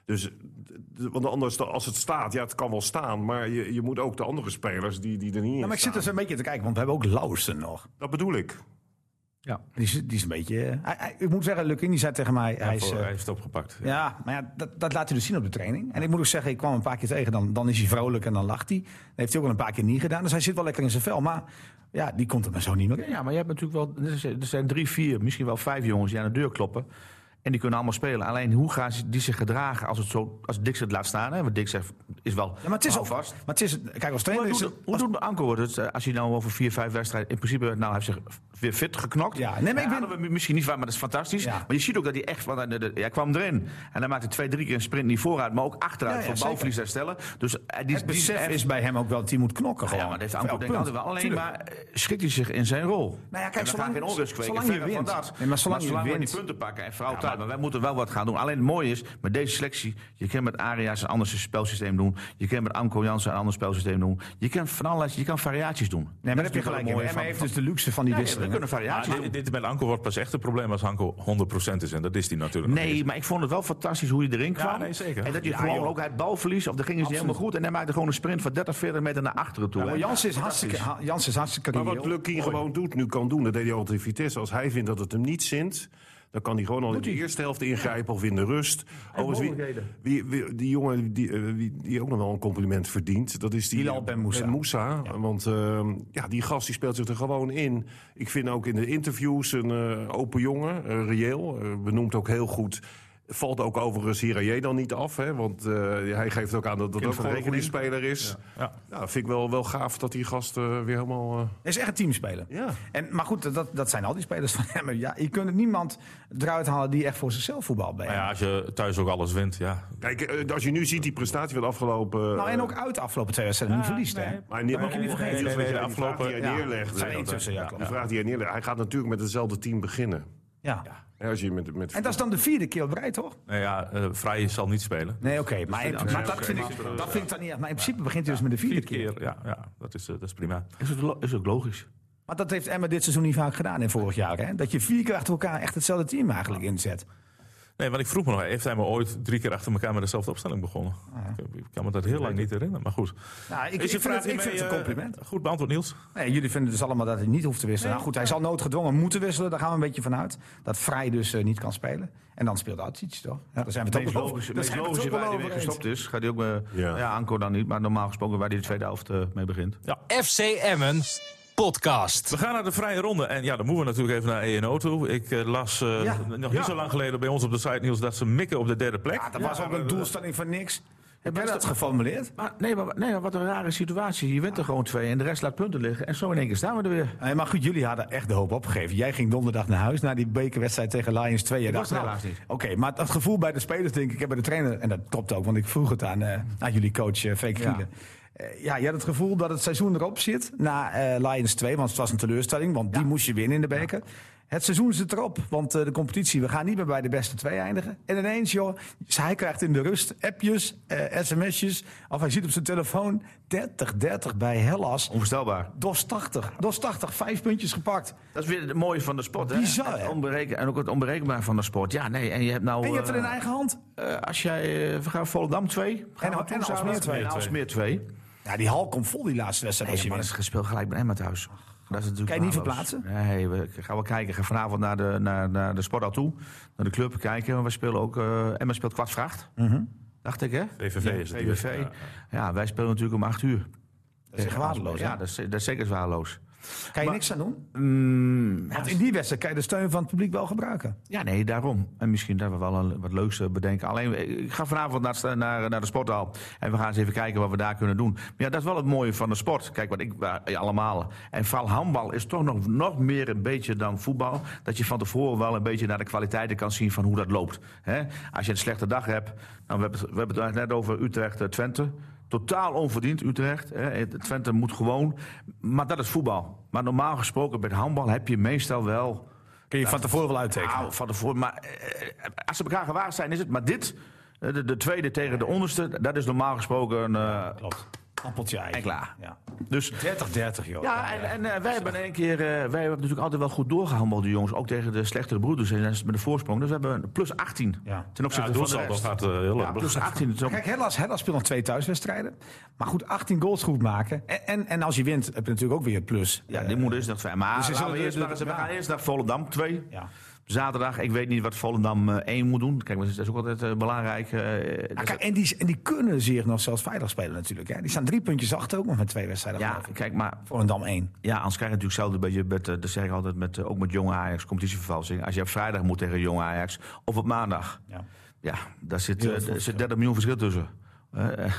S4: Dus, d- want anders, als het staat, ja, het kan wel staan. Maar je, je moet ook de andere spelers die, die er niet in
S3: Nou, maar ik zit
S4: staan.
S3: dus een beetje te kijken, want we hebben ook Lauwersen nog.
S4: Dat bedoel ik.
S3: Die is, die is een beetje. eh, Hij, hij- ik moet zeggen, Lukin die zei tegen mij. hij, is,
S2: Voor-
S3: eh,
S2: Hij heeft het opgepakt.
S3: ja, maar ja, dat, dat laat hij dus zien op de training. En ik moet ook zeggen, ik kwam hem een paar keer tegen. Dan, dan is hij vrolijk en dan lacht hij. Dat heeft hij ook al een paar keer niet gedaan. Dus hij zit wel lekker in zijn vel. Maar ja, die komt er maar zo niet meer in.
S5: Ja, maar je hebt natuurlijk wel. er zijn- Er zijn drie, vier, misschien wel vijf jongens die aan de deur kloppen. En die kunnen allemaal spelen. Alleen hoe gaan ze- die zich gedragen als, het zo, als Dick ze het laat staan? Hè? Want Dick zegt, is wel.
S3: Ja, maar het is
S5: hou
S3: ook
S5: vast.
S3: Maar het is, kijk, als
S5: Hoe
S3: trainer is
S5: doet,
S3: het,
S5: hoe doet Anko het eh, als hij nou over vier, vijf wedstrijden... In principe, nou, hij heeft zich weer fit geknokt.
S3: Ja, nee, maar ik
S5: Ja,
S3: ben-
S5: hadden we misschien niet waar, maar dat is fantastisch.
S3: Ja.
S5: Maar je ziet ook dat hij echt... Want hij, de- de- hij kwam erin en hij maakte twee, drie keer een sprint niet vooruit... maar ook achteruit
S3: Ja, ja,
S5: voor
S3: zeker.
S5: balverlies herstellen. Dus eh, die,
S3: het
S5: die is
S3: besef
S5: echt-
S3: is bij hem ook wel dat hij moet knokken. Gewoon.
S5: ja, maar dat heeft
S3: Voor
S5: Anko
S3: elk
S5: denk ik
S3: punt.
S5: altijd wel. Alleen
S3: Tuurlijk.
S5: maar eh, schikt hij zich in zijn rol.
S3: Nou ja, kijk,
S5: En we
S3: zolang-
S5: gaan geen onrust kweken.
S3: zolang je
S5: verre van
S3: wint.
S5: dat.
S3: Nee, maar zolang je
S5: we
S3: wint.
S5: die punten pakken en vooral thuis. Maar wij moeten wel wat gaan doen. Alleen het mooie is, met deze selectie... je kan met Arias een ander spelsysteem doen. Je kan met Anko Jansen een ander spelsysteem doen. Je kan van alles, je kan variaties doen.
S3: Nee, maar daar
S5: Dat
S3: heb je
S5: is natuurlijk
S3: gelijk.
S5: wel
S3: in.
S5: mooi
S3: En
S5: van-
S3: hij heeft dus de luxe van die
S5: Ja, we
S3: wisseling.
S5: kunnen
S2: Maar
S5: variaties doen.
S2: dit, dit met Anko wordt pas echt een probleem als Anko 100% is. En dat is hij natuurlijk nog niet.
S5: Nee, maar ik vond het wel fantastisch hoe je erin kwam.
S2: nee, zeker.
S5: En dat je gewoon ook uit balverlies, of de ging het niet helemaal goed. En hij maakte gewoon een sprint van 30, 40 meter naar achteren toe.
S3: Maar
S5: hè.
S3: Jansen is hartstikke, ha- Jansen is hartstikke
S4: Maar wat
S3: reëel.
S4: Lucky gewoon doet, nu kan doen, dat deed hij altijd in Vitesse. Als hij vindt dat het hem niet zint, dan kan hij gewoon al in de eerste helft ingrijpen of in de rust. Overigens, wie, wie, wie- die jongen die, eh, wie, die ook nog wel een compliment verdient, dat is die
S3: Bilal Ben Moussa.
S4: Moussa. Want eh, ja, die gast die speelt zich er gewoon in. Ik vind ook in de interviews een eh, open jongen, eh, reëel, eh, benoemt ook heel goed. Valt ook overigens Hiraye dan niet af, hè? want eh, hij geeft ook aan dat dat ook
S5: van
S4: gewoon een goede
S5: rekening.
S4: speler is. Ja. vind ik wel, wel gaaf dat die gast eh, weer helemaal... eh,
S3: Hij is echt een teamspeler.
S4: Ja.
S3: En, maar goed, dat, dat zijn al die spelers van hem. Ja, je kunt er niemand eruit halen die echt voor zichzelf voetbal bij.
S4: eh,
S2: Maar Nou ja, als je thuis ook alles wint, ja.
S4: Kijk, eh, als je nu ziet die prestatie van de afgelopen. eh,
S3: Nou, en ook uit de afgelopen twee wedstrijden niet verliest. Hè?
S4: Maar niet,
S3: mag je niet vergeten.
S4: Nee, nee, nee,
S2: De
S4: de
S2: afgelopen-
S4: afgelopen. Die hij
S3: ja,
S4: neerlegt.
S3: zijn er
S4: hè, dat-
S3: tussen, ja,
S4: die
S3: klopt.
S4: vraag die hij neerlegt. Hij gaat natuurlijk met hetzelfde team beginnen.
S3: Ja.
S4: Hè, Als je met, met
S3: En dat is dan de vierde keer op rij, toch?
S2: Nou ja, eh Vrij zal niet spelen.
S3: Nee, oké. maar maar dat, vind ik, dat vind ik dan niet echt. Maar in principe begint hij dus met de vierde,
S2: Vier
S3: keer.
S2: keer, ja, ja dat, is, eh, dat is prima.
S5: Is, ook lo- is ook logisch.
S3: Maar dat heeft Emma dit seizoen niet vaak gedaan in vorig jaar. Hè? Dat je vier keer achter elkaar echt hetzelfde team eigenlijk inzet.
S2: Nee, want ik vroeg me nog, heeft hij me ooit drie keer achter elkaar met dezelfde opstelling begonnen?
S3: Ah.
S2: Ik- Ik kan me dat heel lang niet herinneren, maar goed.
S3: Nou, ik, ik
S2: Is je
S3: vind
S2: vraag
S3: het, ik
S2: hiermee,
S3: vind het een
S2: eh,
S3: compliment.
S2: Goed beantwoord, Niels.
S3: Nee, jullie vinden dus allemaal dat hij niet hoeft te wisselen. nou goed, hij zal noodgedwongen moeten wisselen. Daar gaan we een beetje vanuit. Dat Vrij dus eh, niet kan spelen. En dan speelt Atsic, toch? Ja, daar zijn we
S5: Het
S3: toch
S5: meest
S3: wel
S5: logische,
S3: daar
S5: meest
S3: zijn we
S5: logische
S3: toch wel
S5: waar hij
S3: over
S5: mee
S3: eens.
S5: gestopt is, gaat hij ook... eh,
S4: Ja.
S5: ja. Anko dan niet, maar normaal gesproken waar hij de tweede helft eh, mee begint.
S7: FC Emmen podcast.
S2: We gaan naar de vrije ronde. En ja, dan moeten we natuurlijk even naar ENO toe. Ik eh, las eh,
S3: Ja.
S2: nog niet
S3: Ja.
S2: zo lang geleden bij ons op de site, Niels, dat ze mikken op de derde plek.
S3: Ja, dat was ook een doelstelling van niks. Heb jij dat geformuleerd?
S5: Maar nee, maar, nee, maar wat een rare situatie. Je wint er gewoon twee en de rest laat punten liggen. En zo in één keer staan we er weer.
S3: Nee, Eh, maar goed, jullie hadden echt de hoop opgegeven. Jij ging donderdag naar huis na die bekerwedstrijd tegen Lions 2. Jij dacht,
S5: was er
S3: nou,
S5: helaas niet.
S3: Oké, maar het gevoel bij de spelers, denk ik, en bij de trainer... en dat klopt ook, want ik vroeg het aan, eh, aan jullie coach eh Freek
S5: Ja.
S3: Gielen. Eh, ja, je had het gevoel dat het seizoen erop zit na eh, Lions 2. Want het was een teleurstelling, want die moest je winnen in de beker. Het seizoen zit erop, want eh, de competitie, we gaan niet meer bij de beste twee eindigen. En ineens, joh, hij krijgt in de rust appjes, eh, sms'jes. Of hij ziet op zijn telefoon 30-30 bij Hellas.
S5: Onvoorstelbaar.
S3: DOS 80. DOS 80, vijf puntjes gepakt.
S5: Dat is weer het mooie van de sport. Hè?
S3: Bizar, hè?
S5: Het onbereken- en ook het onberekenbaar van de sport. Ja, nee. En je hebt nou.
S3: En je hebt er in
S5: eh,
S3: eigen hand.
S5: eh, als jij. eh, we gaan Volendam 2.
S3: En, en als meer twee.
S5: En als meer 2.
S3: Ja, die hal komt vol die laatste wedstrijd. als
S5: Nee,
S3: je
S5: maar dat is
S3: wint.
S5: gespeeld gelijk bij Emma thuis. Dat is natuurlijk
S3: Kan je niet
S5: waardeloos.
S3: verplaatsen?
S5: Nee, we ik ga wel kijken. Ik ga vanavond naar de, naar, naar de sporthal toe. Naar de club kijken. Want We spelen ook... eh, Emma speelt kwartvracht.
S3: Mhm.
S5: Dacht ik, hè?
S2: VVV is het.
S5: VVV.
S2: hier.
S5: Ja, wij spelen natuurlijk om acht uur.
S3: Dat is echt waardeloos. hè?
S5: Ja, dat is, dat is zeker waardeloos.
S3: Kan je niks aan doen?
S5: Mm, ja,
S3: Want in die wedstrijd kan je de steun van het publiek wel gebruiken.
S5: ja, nee, daarom. En misschien dat we wel een, wat leuks eh, bedenken. Alleen, eh, ik ga vanavond naar, sta- naar, naar de sporthal. En we gaan eens even kijken wat we daar kunnen doen. Maar ja, dat is wel het mooie van de sport. Kijk, wat ik waar- ja, allemaal. En vooral handbal is toch nog, nog meer een beetje dan voetbal. Dat je van tevoren wel een beetje naar de kwaliteiten kan zien van hoe dat loopt. Hè? Als je een slechte dag hebt. Nou, we, hebben het, we hebben het net over Utrecht-Twente. Totaal onverdiend, Utrecht. hè. Twente moet gewoon. Maar dat is voetbal. Maar normaal gesproken bij het handbal heb je meestal wel.
S3: Kun je van tevoren wel uittekenen.
S5: Nou, van tevoren. Maar eh, als ze elkaar gewaagd zijn, is het. Maar dit, eh, de, de tweede tegen de onderste, dat is normaal gesproken. eh,
S3: Klopt. Appeltje ei.
S5: En klaar.
S3: Ja.
S5: dus
S3: 30-30, joh.
S5: ja, en, en eh, wij hebben in één keer, eh, wij hebben natuurlijk altijd wel goed doorgehandeld, die jongens. Ook tegen de slechtere broeders en dat is met de voorsprong. Dus we hebben een plus 18
S3: Ja.
S5: ten
S2: Ja,
S5: opzichte
S2: het
S5: van de
S2: doelsaldo
S5: rest.
S2: gaat eh, heel
S5: Ja, dus-
S2: erg.
S5: plus 18 is ook
S3: Kijk, Hellas, Hellas speelt nog twee thuiswedstrijden. Maar goed, 18 goals goed maken. En, en, en als je wint, heb je natuurlijk ook weer het plus. Eh,
S5: Ja, die moeder is nog fijn. Maar
S3: Dus ze
S5: laten
S3: zullen
S5: we,
S3: de-
S5: eerst
S3: de-
S5: maar eens- we
S3: ja.
S5: gaan eerst naar Volendam 2.
S3: Ja.
S5: Zaterdag, ik weet niet wat Volendam eh, 1 moet doen. Kijk, maar dat is ook altijd eh, belangrijk. eh, dat
S3: Ah,
S5: is-
S3: kijk, en, die, en die kunnen zich nog zelfs veilig spelen natuurlijk. Hè. Die staan drie puntjes achter ook nog met twee wedstrijden.
S5: ja,
S3: geloof ik.
S5: kijk, maar
S3: Voor een dam 1.
S5: ja, anders krijg je natuurlijk hetzelfde bij je, met, eh, dat zeg ik altijd, met, eh, ook met jonge Ajax, competitievervalsing. Als je op vrijdag moet tegen jonge Ajax, of op maandag.
S3: Ja.
S5: Ja, daar zit,
S3: Heel
S5: eh,
S3: veel
S5: daar zit 30 miljoen verschil tussen. Eh, eh,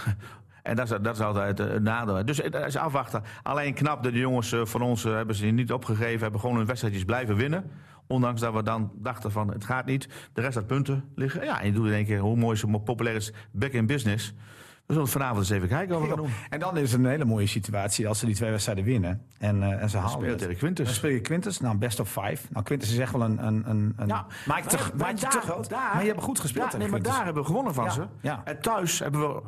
S5: en dat is, dat is altijd eh, een nadeel. Dus eh, dat is afwachten. Alleen knap dat de jongens eh, van ons eh, hebben ze niet opgegeven. Hebben gewoon hun wedstrijdjes blijven winnen. Ondanks dat we dan dachten van het gaat niet. De rest had punten liggen. Ja, en je doet in één keer hoe mooi ze populair is. Back in business. We zullen vanavond eens even kijken wat we gaan doen.
S3: En dan is het een hele mooie situatie als ze die twee wedstrijden winnen. En, eh, en ze halen
S5: Speel
S3: het.
S5: tegen
S3: Dan
S5: Quintus.
S3: speel je Quintus, nou best of five. Nou, Quintus is echt wel een... een, een, een
S5: Ja,
S3: Mike te,
S5: maar-
S3: Mike
S5: maar
S3: te
S5: daar-
S3: groot.
S5: daar-
S3: maar je hebt goed gespeeld
S5: Ja, nee,
S3: tegen
S5: maar
S3: Quintus.
S5: daar hebben we gewonnen van
S3: Ja,
S5: ze.
S3: ja.
S5: En thuis hebben we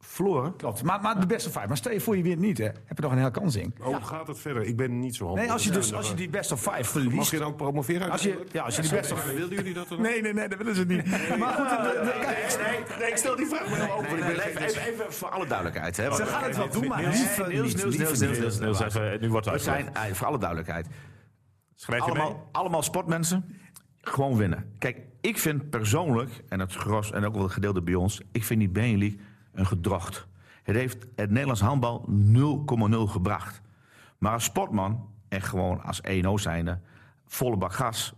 S5: verloren.
S3: Klopt, maar, maar de best of five. Maar stel je voor je wint niet, hè. heb je nog een hele kans in.
S4: Hoe gaat het verder? Ik ben niet zo handig.
S3: Nee, als je, dus, als je die best of five
S4: Mag
S3: verliest...
S4: je dan promoveren?
S3: Als je, ja, als je die best of...
S4: Wilden jullie dat dan?
S3: Nee, nee, nee, dat willen ze niet. Maar goed, de- de- de- kijk,
S5: ik stel die vraag maar open.
S4: ik ben
S5: even, even, even voor alle duidelijkheid. Hè,
S3: ze
S5: want-
S3: gaan het wel doen, maar
S5: Niels,
S3: liever
S5: Niels,
S3: niet,
S5: Niels,
S3: liever
S5: Niels,
S3: niet.
S5: Niels, Niels.
S2: Niels, even, nu wordt het
S5: We
S2: uitgelegd.
S5: zijn, eh, voor alle duidelijkheid,
S2: Schrijf je mee?
S5: allemaal, allemaal sportmensen, gewoon winnen. Kijk, ik vind persoonlijk, en het gros en ook wel het gedeelte bij ons, ik vind die Benelux een gedrocht. Het heeft het Nederlands handbal 0,0 gebracht. Maar als sportman, en gewoon als 1-0 zijnde, volle bak gas.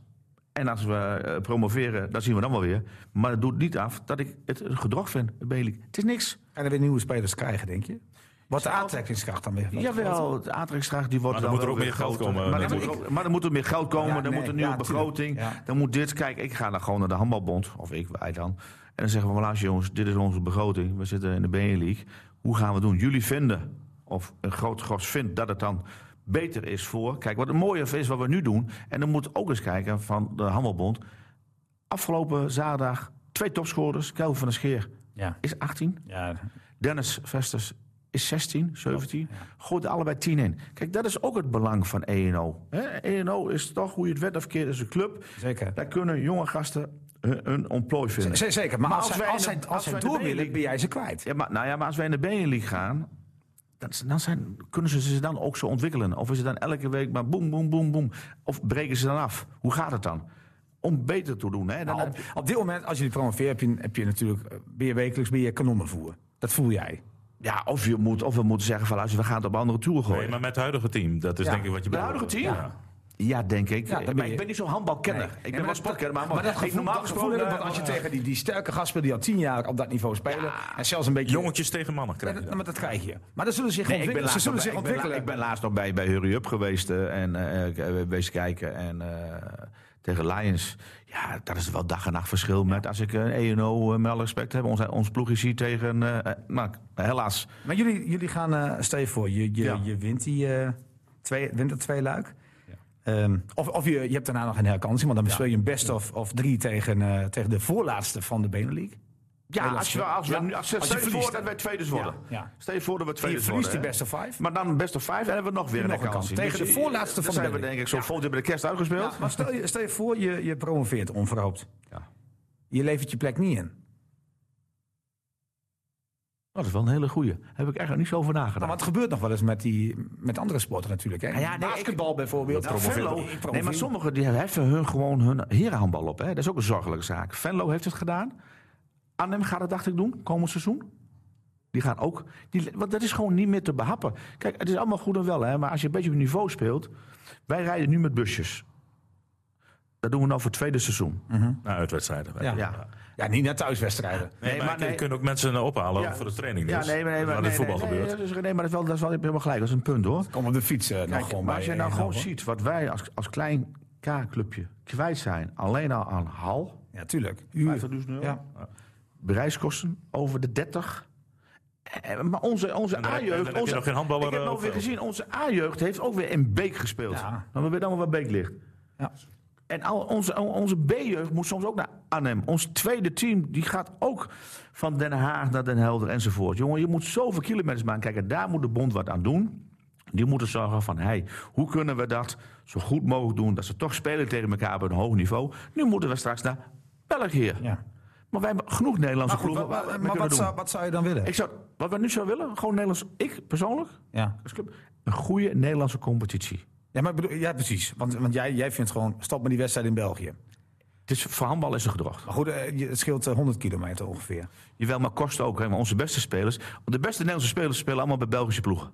S5: En als we eh, promoveren, dan zien we dan wel weer. Maar het doet niet af dat ik het een gedrocht vind, Benelux. Het is niks.
S3: En dan weer nieuwe spelers krijgen, denk je? Wat de aantrekkingskracht dan weer.
S5: Jawel, de aantrekkingskracht die wordt
S2: Maar dan
S5: wel
S2: moet er
S5: wel
S2: ook
S5: weer
S2: meer geld
S5: groter.
S2: komen,
S5: Maar, dan moet
S2: natuurlijk.
S5: ook- maar dan moet er meer geld komen,
S3: Ja,
S5: dan moet
S3: nee,
S5: er een nieuwe
S3: ja,
S5: begroting.
S3: tuurlijk, ja.
S5: Dan moet dit, kijk, ik ga dan gewoon naar de handbalbond, of ik, wij dan. En dan zeggen we, well, luister jongens, dit is onze begroting. We zitten in de B-league. Hoe gaan we het doen? Jullie vinden, of een groot gros vindt, dat het dan beter is voor. Kijk, wat het mooie is wat we nu doen. En dan moet ook eens kijken van de handbalbond. Afgelopen zaterdag twee topscorers. Kelvin van der Scheer
S3: Ja.
S5: is 18.
S3: Ja,
S5: Dennis Vesters is 16, 17.
S3: Oh,
S5: Gooit er allebei 10 in. Kijk, dat is ook het belang van ENO. hè. ENO is toch, hoe je het wet of keert, is een club.
S3: zeker.
S5: Daar kunnen jonge gasten hun, hun ontplooi vinden.
S3: Z- zeker, maar,
S5: Maar
S3: als,
S5: als
S3: zij,
S5: wij
S3: als,
S5: in de-
S3: zij, als,
S5: als
S3: zij
S5: wij in de
S3: door willen,
S5: B-league-
S3: ben jij ze kwijt.
S5: Ja, maar, nou ja, maar als wij in de B-league gaan, dan, dan zijn, kunnen ze zich dan ook zo ontwikkelen. Of is het dan elke week maar boem, boem, boem, boem. Of breken ze dan af. Hoe gaat het dan? Om beter te doen. Hè? Dan,
S3: Nou, op, op dit moment, als je die promoveert, heb je, heb je natuurlijk eh, ben je wekelijks ben je kanonnenvoer. Dat voel jij.
S5: ja, of, je moet, of we moeten zeggen van luister, we gaan het op andere toeren gooien.
S2: Nee, maar met het huidige team. Dat is
S3: Ja.
S2: denk ik wat je
S5: De
S2: bedoelt.
S5: huidige team? Ja. denk ik.
S3: Ja, dan ben
S5: maar
S3: je-
S5: ik ben niet zo'n handbalkenner.
S3: Nee.
S5: Ik
S3: Nee,
S5: ben wel
S3: maar
S5: sportkenner. Maar,
S3: Maar dat
S5: ik
S3: gevoel,
S5: normaal
S3: dat gevoel
S5: gesproken...
S3: heb ik, want als je
S5: eh,
S3: tegen die, die sterke gasten die al tien jaar op dat niveau spelen... en zelfs een beetje...
S2: Jongetjes tegen mannen
S3: Ja,
S2: krijg je
S3: dat,
S2: dan.
S3: maar dat krijg je. Maar dat zullen zich
S5: Nee, ik ben
S3: ontwikkelen. ze
S5: laatst nog
S3: zullen
S5: bij-
S3: zich
S5: ik ben
S3: ontwikkelen.
S5: la- Ik ben laatst nog bij, bij Hurry Up geweest eh, en eh wees kijken. En eh, tegen Lions. Ja, dat is wel dag en nacht verschil met als ik een ENO eh, met alle respect heb. Ons, ons ploeg is hier tegen, eh, eh, nou, helaas.
S3: Maar jullie, jullie gaan, eh stel je voor, je, je,
S5: Ja.
S3: je wint die eh twee, wint dat twee luik. Ehm, of of je, je hebt daarna nog een herkansing, want dan speel je een best of, of drie tegen, eh, tegen de voorlaatste van de Benelink.
S5: Ja,
S3: Nederland
S5: als je,
S3: speelt.
S5: als we,
S3: Ja.
S5: nu- als,
S3: Als je
S5: stel je voor
S3: verliest.
S5: dat wij tweede worden.
S3: Ja, ja.
S5: Stel je voor dat we
S3: En
S5: tweede
S3: je
S5: worden.
S3: verliest die
S5: hè.
S3: best of five.
S5: Maar dan een best of vijf en hebben we nog weer
S3: nog
S5: een
S3: een kans.
S5: kans. Dus
S3: Tegen de voorlaatste van de
S5: zijn we
S3: Benelux.
S5: denk ik zo vol hebben de kerst uitgespeeld.
S3: Ja, maar stel je, stel je voor, je, je promoveert onverhoopt.
S5: Ja.
S3: Je levert je plek niet in.
S5: Nou, Dat is wel een hele goeie. Heb ik eigenlijk niet zo over nagedacht.
S3: Nou, maar het gebeurt nog wel eens met, die, met andere sporten natuurlijk. Hè?
S5: Ah, ja, nee,
S3: Basketbal bijvoorbeeld.
S5: Nou, Venlo,
S3: Ik promoveer
S5: nee, maar
S3: niet.
S5: sommigen die heffen hun gewoon hun herenhandbal op. Hè. Dat is ook een zorgelijke zaak. Venlo heeft het gedaan. Arnhem gaat het, dacht ik, doen, komend seizoen. Die gaan ook. Die, want dat is gewoon niet meer te behappen. Kijk, het is allemaal goed en wel, hè, maar als je een beetje op niveau speelt. Wij rijden nu met busjes. Dat doen we nou voor het tweede seizoen.
S2: Na uitwedstrijden.
S3: Ja.
S5: Ja.
S3: Ja, niet naar thuiswedstrijden.
S2: Nee, maar,
S5: maar
S2: je
S5: nee.
S2: kunt ook mensen eh, ophalen
S5: Ja.
S2: voor de training.
S5: Ja,
S2: Dus.
S5: nee, maar nee, maar
S2: Waar
S5: nee,
S2: het voetbal
S5: nee,
S2: gebeurt.
S5: Nee, dat is, nee, maar dat is wel, dat is wel helemaal gelijk. Dat is een punt hoor.
S3: Kom op de fiets eh, nog
S5: Kijk,
S3: gewoon
S5: maar
S3: bij.
S5: als je nou
S3: eh,
S5: gewoon
S3: hoor.
S5: ziet wat wij als, als klein K-clubje kwijt zijn, alleen al aan hal,
S3: Ja, tuurlijk.
S5: 50.000 euro,
S3: Ja.
S5: bereiskosten over de 30. Eh, Maar onze, onze
S2: En dan heb- en dan heb
S5: A-jeugd.
S2: je
S5: onze-
S2: nog geen handballer,
S5: Ik heb
S2: eh,
S5: nog
S2: op
S5: weer
S2: veld.
S5: gezien, onze A-jeugd heeft ook weer in Beek gespeeld.
S3: Ja.
S5: Maar we weten allemaal waar Beek ligt.
S3: Ja.
S5: En al onze, al onze B-jeugd moet soms ook naar Arnhem. Ons tweede team die gaat ook van Den Haag naar Den Helder enzovoort. Jongen, je moet zoveel kilometers maken. Kijk, en daar moet de bond wat aan doen. Die moeten zorgen van, hey, hoe kunnen we dat zo goed mogelijk doen... dat ze toch spelen tegen elkaar op een hoog niveau. Nu moeten we straks naar België.
S3: Ja.
S5: Maar wij hebben genoeg Nederlandse
S3: Maar, Nou goed, wat-
S5: ploegen. waar we mee
S3: maar
S5: kunnen
S3: wat,
S5: doen.
S3: zou, wat zou je dan willen?
S5: Ik zou, wat we nu zouden willen, gewoon Nederlands... Ik persoonlijk,
S3: Ja.
S5: als club, een goede Nederlandse competitie.
S3: Ja, maar ik bedoel, ja, precies. Want, want jij, jij vindt gewoon, stop met die wedstrijd in België.
S5: Het is, voor handbal is een gedrocht.
S3: Maar goed, eh, je- het scheelt eh, 100 kilometer ongeveer.
S5: Jawel, maar kosten ook. Hè, maar onze beste spelers. want De beste Nederlandse spelers spelen allemaal bij Belgische ploegen.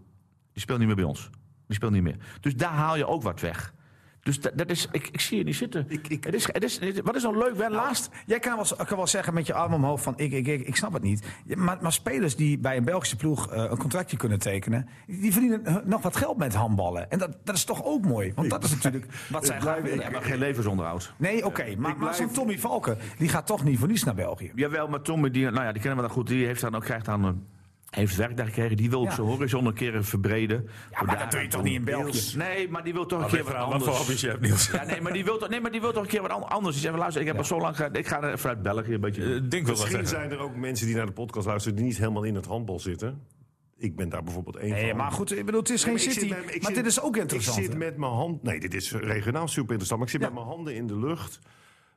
S5: Die spelen niet meer bij ons. Die spelen niet meer. Dus daar haal je ook wat weg. Dus dat, dat is, ik, ik zie je niet zitten. het is, het is, het is- wat is nou leuk? Wij laatst.
S3: Jij kan wel, kan wel zeggen met je arm omhoog van ik, ik, ik, ik snap het niet. Ja, Maar, maar spelers die bij een Belgische ploeg eh, een contractje kunnen tekenen... die verdienen eh, nog wat geld met handballen. En dat, dat is toch ook mooi? Want dat is natuurlijk wat zij graag willen.
S5: maar geen levensonderhoud.
S3: Nee, oké. maar maar zo'n Tommy Valken, die gaat toch niet voor niets naar België.
S5: Jawel, maar Tommy, die, nou ja, die kennen we dan goed. Die heeft dan ook, krijgt dan, eh, heeft werk daar gekregen. Die wil ook
S3: Ja.
S5: zijn horizon een keer verbreden.
S3: Ja, maar dat doe je toch niet in België?
S5: Nee, maar die wil toch een keer
S2: Ligt
S5: wat
S2: eraan Wat
S5: anders.
S2: voor hobby's je hebt, Niels.
S5: Ja, nee, maar die wil toch, nee, maar die wil toch een keer wat an- anders. Die zegt, van, luister, ik heb al zo lang... ge- Ik ga er vanuit België een beetje...
S2: Eh, Dink wil wat
S4: Misschien
S2: zeggen.
S4: zijn er ook mensen die naar de podcast luisteren die niet helemaal in het handbal zitten. Ik ben daar bijvoorbeeld één
S3: Nee,
S4: van.
S3: maar goed, ik bedoel, het is geen
S4: Ik zit
S3: city.
S4: met- ik
S3: maar
S4: zit-
S3: dit is ook interessant.
S4: Ik zit met mijn hand. Nee, dit is regionaal super interessant. Maar ik zit
S3: Ja.
S4: met mijn handen in de lucht.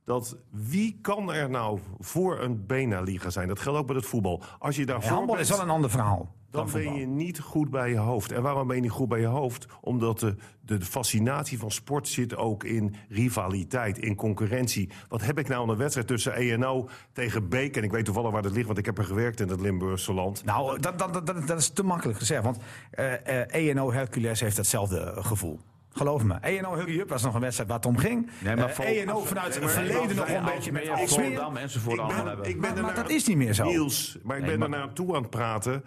S4: Dat wie kan er nou voor een Bena-liga zijn? Dat geldt ook bij het voetbal. Als je daarvoor
S3: handbal
S4: bent,
S3: is wel een ander verhaal.
S4: dan
S3: dan
S4: ben
S3: voetbal.
S4: je niet goed bij je hoofd. En waarom ben je niet goed bij je hoofd? Omdat de, de fascinatie van sport zit ook in rivaliteit, in concurrentie. Wat heb ik nou aan een wedstrijd tussen ENO tegen Beek? En ik weet toevallig waar dat ligt, want ik heb er gewerkt in het Limburgse land.
S3: Nou, dat, dat, dat, dat, dat is te makkelijk gezegd. Want eh, eh, ENO Hercules heeft datzelfde eh, gevoel. Geloof me. E ENO Hurry Up was nog een wedstrijd waar het om ging.
S5: Nee, maar
S3: Eh,
S5: vol-
S3: ENO vanuit het verleden nog een beetje met
S5: Ik
S3: alles meer.
S5: Volendam enzovoort allemaal hebben.
S4: ik
S3: Maar,
S4: er
S3: maar
S4: naar-
S3: dat is niet meer zo.
S4: Niels, maar ik ben
S5: maar-
S4: er naartoe aan het praten.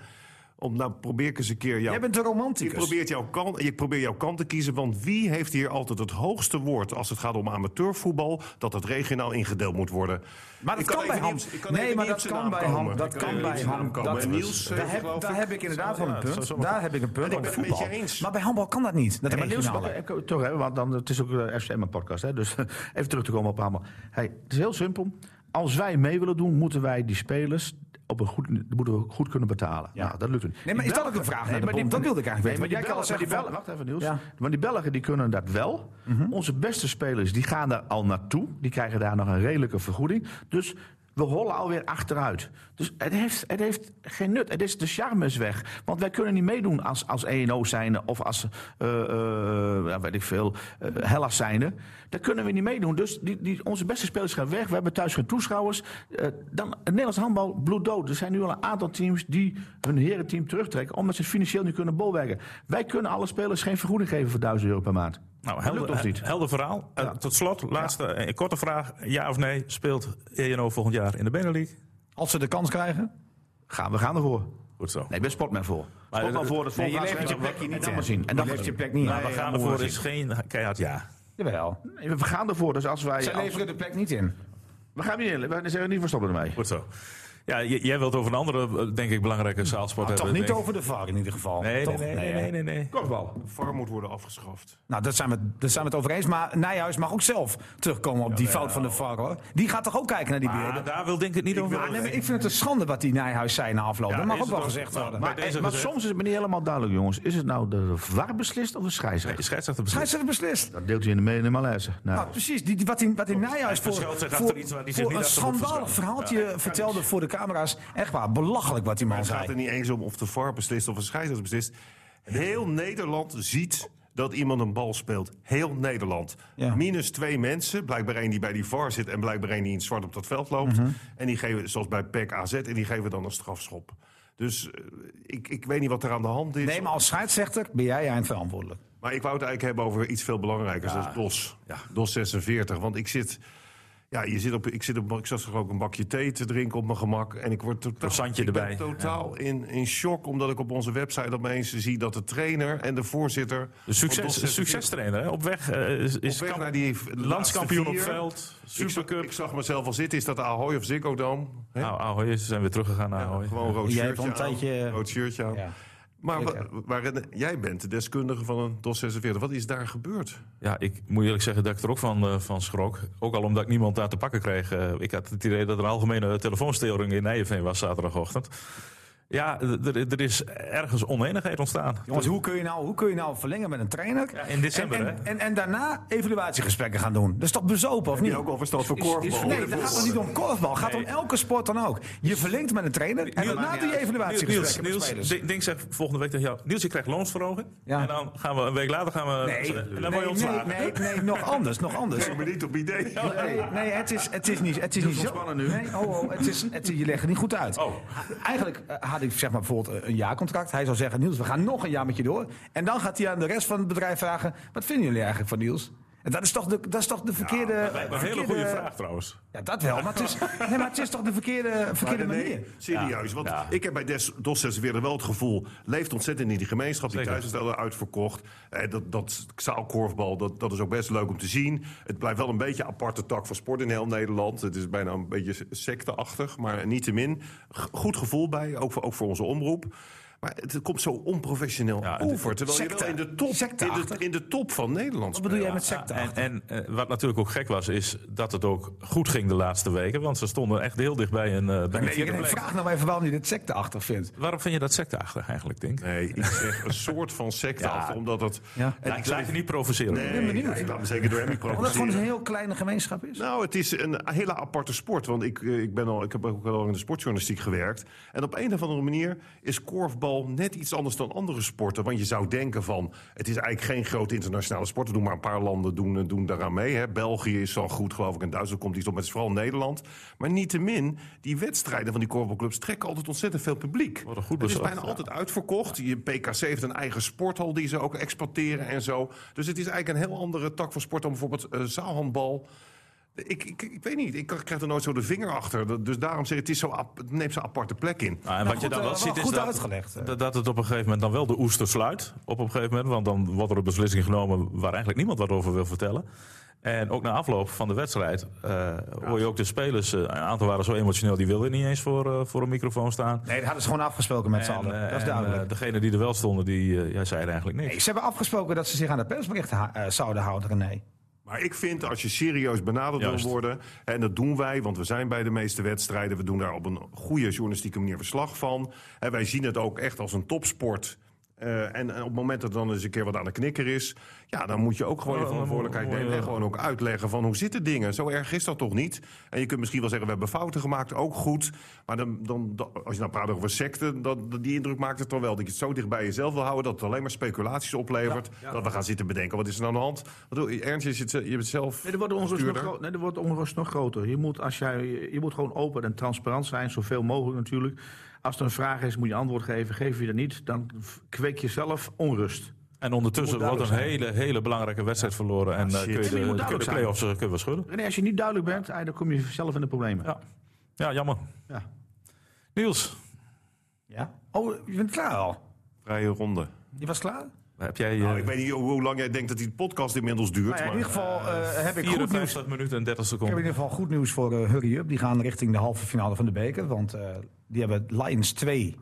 S4: Om, nou probeer ik eens een keer jou...
S3: Jij bent een
S4: ik,
S3: romanticus.
S4: probeer jouw kant, ik probeer jouw kant te kiezen, want wie heeft hier altijd het hoogste woord... als het gaat om amateurvoetbal, dat het regionaal ingedeeld moet worden?
S3: Maar dat
S4: Ik
S3: kan,
S4: even
S3: bij
S4: niet op
S3: Ham.
S4: z'n- ik kan
S3: Nee,
S4: even
S3: maar
S4: niet op
S3: dat
S4: z'n
S3: kan
S4: naam
S3: bij
S4: komen.
S3: Ham.
S4: Ik
S3: Dat
S4: even
S3: kan
S4: niet op
S3: bij
S4: z'n naam
S3: Ham.
S4: komen.
S3: Dat-
S4: En Niels, eh,
S3: Daar heb, daar heb ik inderdaad wel een
S2: dat
S3: punt.
S2: zou zo
S3: Daar heb ik een punt.
S4: En ik
S3: op
S4: ben het met
S3: voetbal.
S4: je eens.
S3: Maar bij handbal kan dat niet. Dat
S5: Ja, maar Niels,
S3: regionale.
S5: eh, eh, toch, hè, want dan, het is ook eh, een FCM-podcast, hè, dus even terug te komen op allemaal. Hey, het is heel simpel. Als wij mee willen doen, moeten wij die spelers op een goed, moeten we goed kunnen betalen. Ja. Nou, dat lukt niet.
S3: Nee, maar
S5: Die
S3: is dat ook
S5: Belgen-
S3: een vraag
S5: Nee,
S3: naar de
S5: maar die-
S3: bond? Dat wilde ik eigenlijk
S5: nee,
S3: weten.
S5: maar
S3: Want
S5: die
S3: jij kan
S5: Belgen-
S3: wel
S5: Wacht even, Niels.
S3: Ja.
S5: Want die Belgen die kunnen dat wel. Onze beste spelers die gaan daar al naartoe. Die krijgen daar nog een redelijke vergoeding. Dus we hollen alweer achteruit. Dus het heeft, het heeft geen nut. Het is de charme is weg. Want wij kunnen niet meedoen als, als ENO zijnde of als, eh, eh, ja, weet ik veel, eh, Hellas zijnde. Daar kunnen we niet meedoen. Dus die, die, onze beste spelers gaan weg. We hebben thuis geen toeschouwers. Eh, dan, het Nederlands handbal bloeddood. Er zijn nu al een aantal teams die hun herenteam terugtrekken... omdat ze het financieel niet kunnen bolwerken. Wij kunnen alle spelers geen vergoeding geven voor 1000 euro per maand.
S2: Nou,
S5: Lukt
S2: helder,
S5: of niet?
S2: helder verhaal. Eh, tot slot, laatste eh, korte vraag. Ja of nee, speelt ENO volgend jaar in de Benelux?
S3: Als ze de kans krijgen.
S5: Gaan, we gaan ervoor.
S2: Goed zo.
S5: Nee, ik ben sportman voor. Sportman
S2: eh,
S5: voor het
S3: Nee, je
S5: volgende
S3: levert je
S5: seizoen.
S3: plekje niet
S5: En dan
S3: in.
S5: maar zien. En eh, dan maar
S3: levert je
S5: zien.
S3: plek niet Nou,
S2: Maar
S3: in.
S2: we gaan ervoor is geen keihard ja.
S3: Jawel.
S5: Nee, We gaan ervoor. Dus als wij...
S3: Zij
S5: als-
S3: leveren de plek niet in.
S5: we gaan niet in. We zeggen niet voor stoppen ermee.
S2: Goed zo. Ja, j- jij wilt over een andere, eh, denk ik, belangrijke zaalsport
S3: Toch
S2: hebben.
S3: niet
S2: denk ik.
S3: over de VAR in ieder geval.
S2: Nee,
S3: Toch?
S2: nee, nee,
S3: hè?
S2: nee, nee, nee.
S3: Korfbal.
S4: VAR moet worden afgeschaft.
S3: Nou, daar zijn, we, daar zijn we het over eens. Maar Nijhuis mag ook zelf terugkomen op die fout van de VAR. Hoor. Die gaat toch ook kijken naar die
S2: Maar
S3: beelden?
S2: daar wil denk ik het niet over.
S3: Maar nee, maar ik vind het een schande wat die Nijhuis zei na afloop. dat mag
S2: is
S3: ook wel
S2: het ook.
S3: gezegd
S2: Maar-
S3: worden.
S2: maar-
S5: Maar,
S2: Bij deze
S5: maar
S2: gezegd-
S5: soms is het me niet helemaal duidelijk, jongens. Is het nou de VAR beslist of de scheidsrechter?
S2: De scheidsrechter
S3: Hij
S2: beslist.
S3: heeft het beslist.
S5: Dat deelt hij in de mede in de malaise. Nou,
S3: Nou, precies. Die, die- wat in, wat in Nijhuis
S2: hij
S3: voor,
S2: verschuilt zich achter
S3: voor,
S2: iets waar die zich
S3: voor
S2: niet
S3: een
S2: achter moet
S3: schandalig
S2: verschuilen.
S3: verhaaltje vertelde voor de camera's. Echt waar, belachelijk wat die man
S4: Het gaat er
S3: zei.
S4: niet eens om of de VAR beslist of een scheidsrechter beslist. Heel Nederland ziet dat iemand een bal speelt. Heel Nederland.
S3: Ja.
S4: Minus twee mensen. Blijkbaar één die bij die VAR zit en blijkbaar één die in het zwart op dat veld loopt.
S3: Mhm.
S4: En die geven, zoals bij E PEC AZ, en die geven dan een strafschop. Dus eh, ik, ik weet niet wat er aan de hand is.
S3: Nee, maar als scheidsrechter ben jij eindverantwoordelijk.
S4: Maar ik wou het eigenlijk hebben over iets veel belangrijkers. Dat is DOS. DOS 46. Want ik zit... Ja, je zit op, ik, zit op, ik zat toch ook een bakje thee te drinken op mijn gemak. En ik word totaal,
S2: croissantje
S4: ik ben
S2: erbij.
S4: totaal in, in shock. Omdat ik op onze website opeens zie dat de trainer en de voorzitter...
S2: De
S4: van DOS
S2: succes,
S4: 46
S2: succestrainer hè? op weg eh, is, is
S4: Op weg
S2: kamp-
S4: naar die v-
S2: landskampioen op
S4: laatste vier.
S2: veld.
S4: Ik zag,
S2: Supercup.
S4: ik zag mezelf al zitten. Is dat de Ahoy of Ziggo Dome? Hè?
S2: Nou, Ahoy, ze zijn weer teruggegaan naar Ahoy.
S4: Gewoon een rood
S3: Jij hebt
S4: shirtje
S3: al een
S4: aan.
S3: tijdje-
S4: Rood shirtje aan.
S3: Ja.
S4: Maar wa- waarin- jij bent de deskundige van een DOS 46. Wat is daar gebeurd?
S2: Ja, ik moet eerlijk zeggen dat ik er ook van, eh, van schrok. Ook al omdat ik niemand daar te pakken kreeg. Eh, ik had het idee dat er een algemene telefoonsteuring in Nijenveen was zaterdagochtend. Ja, d- d- er is ergens oneenigheid ontstaan.
S3: Jongens, hoe kun je nou, hoe kun je nou verlengen met een trainer?
S2: in december,
S3: en, en, en, en daarna evaluatiegesprekken gaan doen. Dat is toch bezopen, of niet?
S4: ook al verstand voor korfbal?
S3: Nee, dat gaat toch niet om korfbal. Het gaat om elke sport dan ook. Je verlengt met een trainer en daarna doe je
S2: Niels, Niels,
S3: evaluatiegesprekken met
S2: Niels,
S3: spelers.
S2: Dink- Dink zegt volgende week tegen jou... Niels, je krijgt loonsverhoging.
S3: Ja.
S2: En dan gaan we een week later gaan we...
S3: Nee,
S2: en dan word
S3: nee,
S2: je
S3: nee,
S2: ontslagen.
S3: nee, nee, nog anders, nog anders.
S4: Ik ben niet op idee.
S3: Nee, nee het, is, het is niet, het is niet zo.
S5: ontspannen nu.
S3: Nee, oh, oh, het is, het, je legt het niet goed uit.
S2: Oh.
S3: Eigenlijk eh, had ik zeg maar bijvoorbeeld eh, een jaarcontract. Hij zou zeggen, Niels, we gaan nog een jaar met je door. En dan gaat hij aan de rest van het bedrijf vragen, wat vinden jullie eigenlijk van Niels? En dat is toch de, dat is toch de verkeerde...
S2: Een hele
S3: verkeerde-
S2: goede vraag trouwens.
S3: Ja, dat wel, maar het is, nee, maar het is toch de verkeerde, verkeerde
S4: Maar
S3: manier.
S4: serieus. Want ik heb bij Des, DOS 46 wel het gevoel... leeft ontzettend in die gemeenschap. Die
S2: Zeker.
S4: thuisstellen uitverkocht. Eh, dat, dat zaalkorfbal, dat, dat is ook best leuk om te zien. Het blijft wel een beetje een aparte tak van sport in heel Nederland. Het is bijna een beetje secteachtig, maar niettemin. g- Goed gevoel bij, ook voor, ook voor onze omroep. Maar het komt zo onprofessioneel
S2: Ja, het-
S4: over. Terwijl
S3: secte.
S4: je wel in de, top, in,
S3: Secteachtig.
S4: de, in de top van Nederland
S3: Wat bedoel jij
S4: speelt.
S3: met secte?
S2: En, en eh, wat natuurlijk ook gek was, is dat het ook goed ging de laatste weken. Want ze stonden echt heel dichtbij een, eh, bij een
S3: Nee,
S2: vierde
S3: nee,
S2: plek.
S3: vraag nou even waarom je dit secteachtig vindt.
S2: Waarom vind je dat secteachtig eigenlijk, Dink?
S4: Nee, ik zeg een soort van secte achter, omdat het...
S3: Ja.
S4: En
S2: ik laat je niet provoceren.
S4: Nee, ik laat me zeker door hem niet
S3: Omdat het gewoon
S4: provoceren.
S3: een heel kleine gemeenschap is.
S4: Nou, het is een hele aparte sport. Want ik, eh, ik, ben al, ik heb ook al in de sportjournalistiek gewerkt. En op een of andere manier is korfbal net iets anders dan andere sporten. Want je zou denken van, het is eigenlijk geen grote internationale sport. Er doen maar een paar landen doen, eh, doen daaraan mee. Hè. België is al goed, geloof ik. En Duitsland komt iets op. Maar het is vooral Nederland. Maar niettemin, die wedstrijden van die korfbalclubs trekken altijd ontzettend veel publiek.
S2: Wat een goed
S4: het is
S2: besluit,
S4: bijna
S2: ja.
S4: altijd uitverkocht. Je PKC heeft een eigen sporthal die ze ook exporteren en zo. Dus het is eigenlijk een heel andere tak van sport dan bijvoorbeeld eh, zaalhandbal. Ik, ik, ik weet niet, ik krijg er nooit zo de vinger achter. Dat- Dus daarom zeg ik, het, is zo ap- het neemt zo'n aparte plek in.
S2: Ah, en wat
S3: goed,
S2: je dan wel
S3: eh,
S2: ziet
S3: wel
S2: is
S3: goed
S2: dat,
S3: uitgelegd, eh.
S2: dat, dat het op een gegeven moment dan wel de oester sluit. Op een gegeven moment, want dan wordt er een beslissing genomen waar eigenlijk niemand wat over wil vertellen. En ook na afloop van de wedstrijd eh, hoor je ook de spelers, eh, een aantal waren zo emotioneel, die wilden niet eens voor, eh, voor een microfoon staan.
S3: Nee, dat hadden ze gewoon afgesproken met z'n
S2: En,
S3: allen.
S2: eh,
S3: Dat is
S2: en,
S3: duidelijk.
S2: eh, degene die er wel stonden, die eh, ja, zeiden eigenlijk niks.
S3: Nee, ze hebben afgesproken dat ze zich aan de persberichten ha- eh, zouden houden, René.
S4: Maar ik vind, als je serieus benaderd
S2: Juist.
S4: wil worden... en dat doen wij, want we zijn bij de meeste wedstrijden... we doen daar op een goede journalistieke manier verslag van. En wij zien het ook echt als een topsport... Eh, en, en op het moment dat er dan eens een keer wat aan de knikker is... ja, dan moet je ook gewoon je
S2: Ja, dan
S4: verantwoordelijkheid
S2: moet je-
S4: nemen... en gewoon ook uitleggen van hoe zitten dingen. Zo erg is dat toch niet? En je kunt misschien wel zeggen, we hebben fouten gemaakt, ook goed. Maar dan, dan, dan- als je nou praat over secten, dat, dat- die indruk maakt het dan wel... dat je het zo dicht bij jezelf wil houden... dat het alleen maar speculaties oplevert. Dat we gaan zitten bedenken, wat is er nou aan de hand? Wat doe- Ernst, je, zit, je bent zelf...
S5: Nee, er wordt de
S3: dus
S5: onrust, nog,
S4: Bestuurder.
S5: gro- nee, er wordt de onrust nog groter. Je moet, als jij, je moet gewoon open en transparant zijn, zoveel mogelijk natuurlijk. Als er een vraag is, moet je antwoord geven. Geef je dat niet, dan v- kweek je zelf onrust.
S2: En ondertussen
S5: Het moet
S2: wordt een hele, hele belangrijke wedstrijd verloren. En eh, kun je
S5: Nee, maar je moet
S2: de, kun je de
S5: duidelijk
S2: play-offs eh, kun je wel schudden.
S5: Nee, als je niet duidelijk bent, ah, dan kom je zelf in de problemen.
S2: Ja. ja, jammer.
S5: Ja.
S2: Niels,
S3: Ja? Oh, je bent klaar al?
S4: Vrije ronde.
S3: Je was klaar?
S2: we Heb jij
S4: Nou,
S2: eh,
S4: ik weet niet hoe hoe lang jij denkt dat die podcast inmiddels duurt.
S3: Nou ja, in
S4: maar-
S3: ieder geval eh, heb ik goed nieuws.
S2: 54 minuten en 30
S3: Ik
S2: seconden?
S3: heb in ieder geval goed nieuws voor eh, Hurry Up. Die gaan richting de halve finale van de beker. Want eh, die hebben Lions 2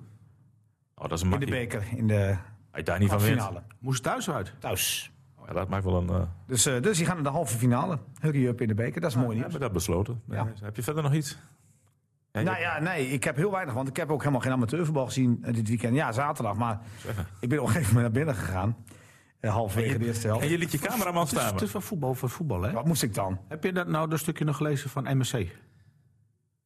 S2: Oh, dat is een
S3: in de
S2: makkie.
S3: beker in de
S2: Als je daar niet van wint.
S3: finale.
S5: Moest thuis uit.
S3: Thuis.
S2: Ja, dat maakt wel een... eh,
S3: Dus, eh, dus die gaan naar de halve finale. Hurry Up in de beker. Dat is mooi
S2: we
S3: nieuws.
S2: hebben dat besloten.
S3: Ja.
S2: Eh, Heb je verder nog iets? Ja, je-
S3: Nou ja, nee, ik heb heel weinig, want ik heb ook helemaal geen amateurvoetbal gezien eh, dit weekend. Ja, zaterdag, maar ik ben op een gegeven moment naar binnen gegaan. Eh, halverwege de eerste helft.
S2: En je liet je cameraman
S5: Het is,
S2: staan.
S5: het is wel voetbal voor voetbal, hè?
S3: Wat moest ik dan?
S5: Heb je dat nou dat stukje nog gelezen van MSC?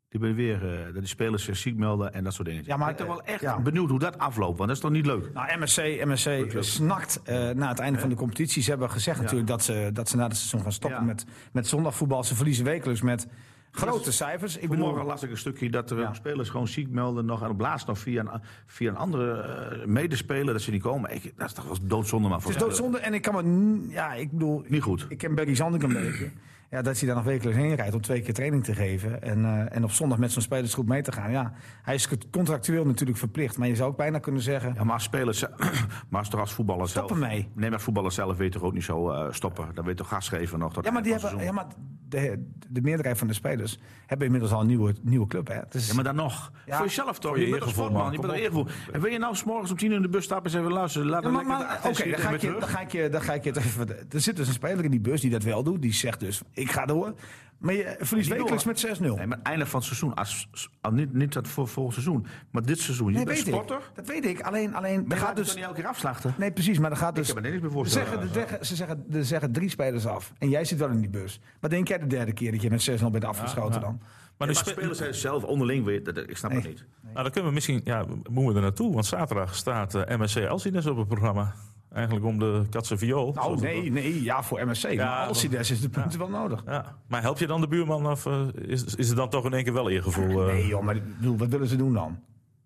S5: Die ben weer eh, dat de spelers zich ziek melden en dat soort dingen.
S3: Ja, maar,
S5: ik ben toch wel
S3: eh,
S5: echt
S3: ja.
S5: benieuwd hoe dat afloopt, want dat is toch niet leuk.
S3: Nou, MSC, MSC snakt eh, na het einde van de competitie. Ze hebben gezegd natuurlijk dat ze, dat ze na het seizoen gaan stoppen
S5: Ja.
S3: met, met zondagvoetbal. Ze verliezen wekelijks met grote cijfers. Ik bedoel,
S5: Vanmorgen las ik een stukje dat er
S3: Ja.
S5: spelers gewoon ziek melden. Nog, en op laatst nog via een, via een andere eh, medespeler dat ze niet komen. Ik, dat is toch wel doodzonde maar voor
S3: het is doodzonde en ik kan me... n- Ja, ik bedoel...
S5: Niet goed.
S3: Ik ken Berry Zandink een beetje. Ja, dat hij daar nog wekelijks heen rijdt om twee keer training te geven. En, eh, en op zondag met zo'n spelersgroep mee te gaan. Ja, hij is contractueel natuurlijk verplicht. Maar je zou ook bijna kunnen zeggen...
S5: Ja, maar als spelers, ze- maar als toch als voetballers
S3: Stoppen
S5: zelf.
S3: mee.
S5: Nee, maar voetballers zelf weten toch ook niet zo eh, stoppen. Dan weet toch gas geven nog. Tot
S3: Ja, maar,
S5: het
S3: die
S5: eind van
S3: hebben, ja,
S5: het
S3: maar de, de meerderheid van de spelers hebben inmiddels al een nieuwe, nieuwe club. Hè? Het is-
S5: seizoen. Ja, maar dan nog.
S3: Ja.
S5: Voor jezelf toch.
S2: Voor je
S5: Je bent een
S2: eergevoel,
S5: sportman.
S2: man.
S5: Je
S2: Kom
S5: bent een eergevoel. En wil je nou s'morgens om tien uur in de bus stappen en zeggen... luister, laat
S3: Ja,
S5: hem
S3: maar,
S5: lekker...
S3: maar-
S5: de-
S3: oké, dan, ga ik
S5: weer
S3: je-
S5: terug.
S3: dan ga ik je, dan ga ik je het even. Er zit dus een speler in die bus die dat wel doet. Die zegt dus: ik ga door. Maar je verliest
S5: Niet
S3: wekelijks
S5: door.
S3: met 6-0.
S5: Nee, maar het einde van het seizoen. Als, als- niet, niet dat voor volgend seizoen, maar dit seizoen. Je
S3: Nee,
S5: bent
S3: weet
S5: sporter.
S3: ik. Dat weet ik. Alleen, alleen er
S5: Je
S3: gaat
S5: gaat dus
S3: dus.
S5: niet elke keer afslachten.
S3: Nee, precies. Maar er gaat dus.
S5: heb me er niks bij
S3: ze
S5: voorstellen.
S3: zeggen, er zeggen- ze zeggen, er zeggen drie spelers af. En jij zit wel in die bus. Maar denk jij de derde keer dat je met 6-0 bent afgeschoten dan?
S2: Maar, de
S5: Maar
S2: spe-
S5: spelers zijn zelf onderling weer... dat- dat- Ik snap het niet.
S2: Nou, dan kunnen we misschien, ja, moeten we er naartoe, want zaterdag staat eh, MSC Elsines op het programma. Eigenlijk om de katse viool.
S3: Nou,
S2: Zoals het
S3: nee, nee. Ja, voor MSC. maar als hij daar is, de punten wel nodig.
S2: wordt. Ja. Maar help je dan de buurman of eh, is, is het dan toch in één keer wel eergevoel? eh?
S3: Nee, joh, maar ik bedoel, wat willen ze doen dan?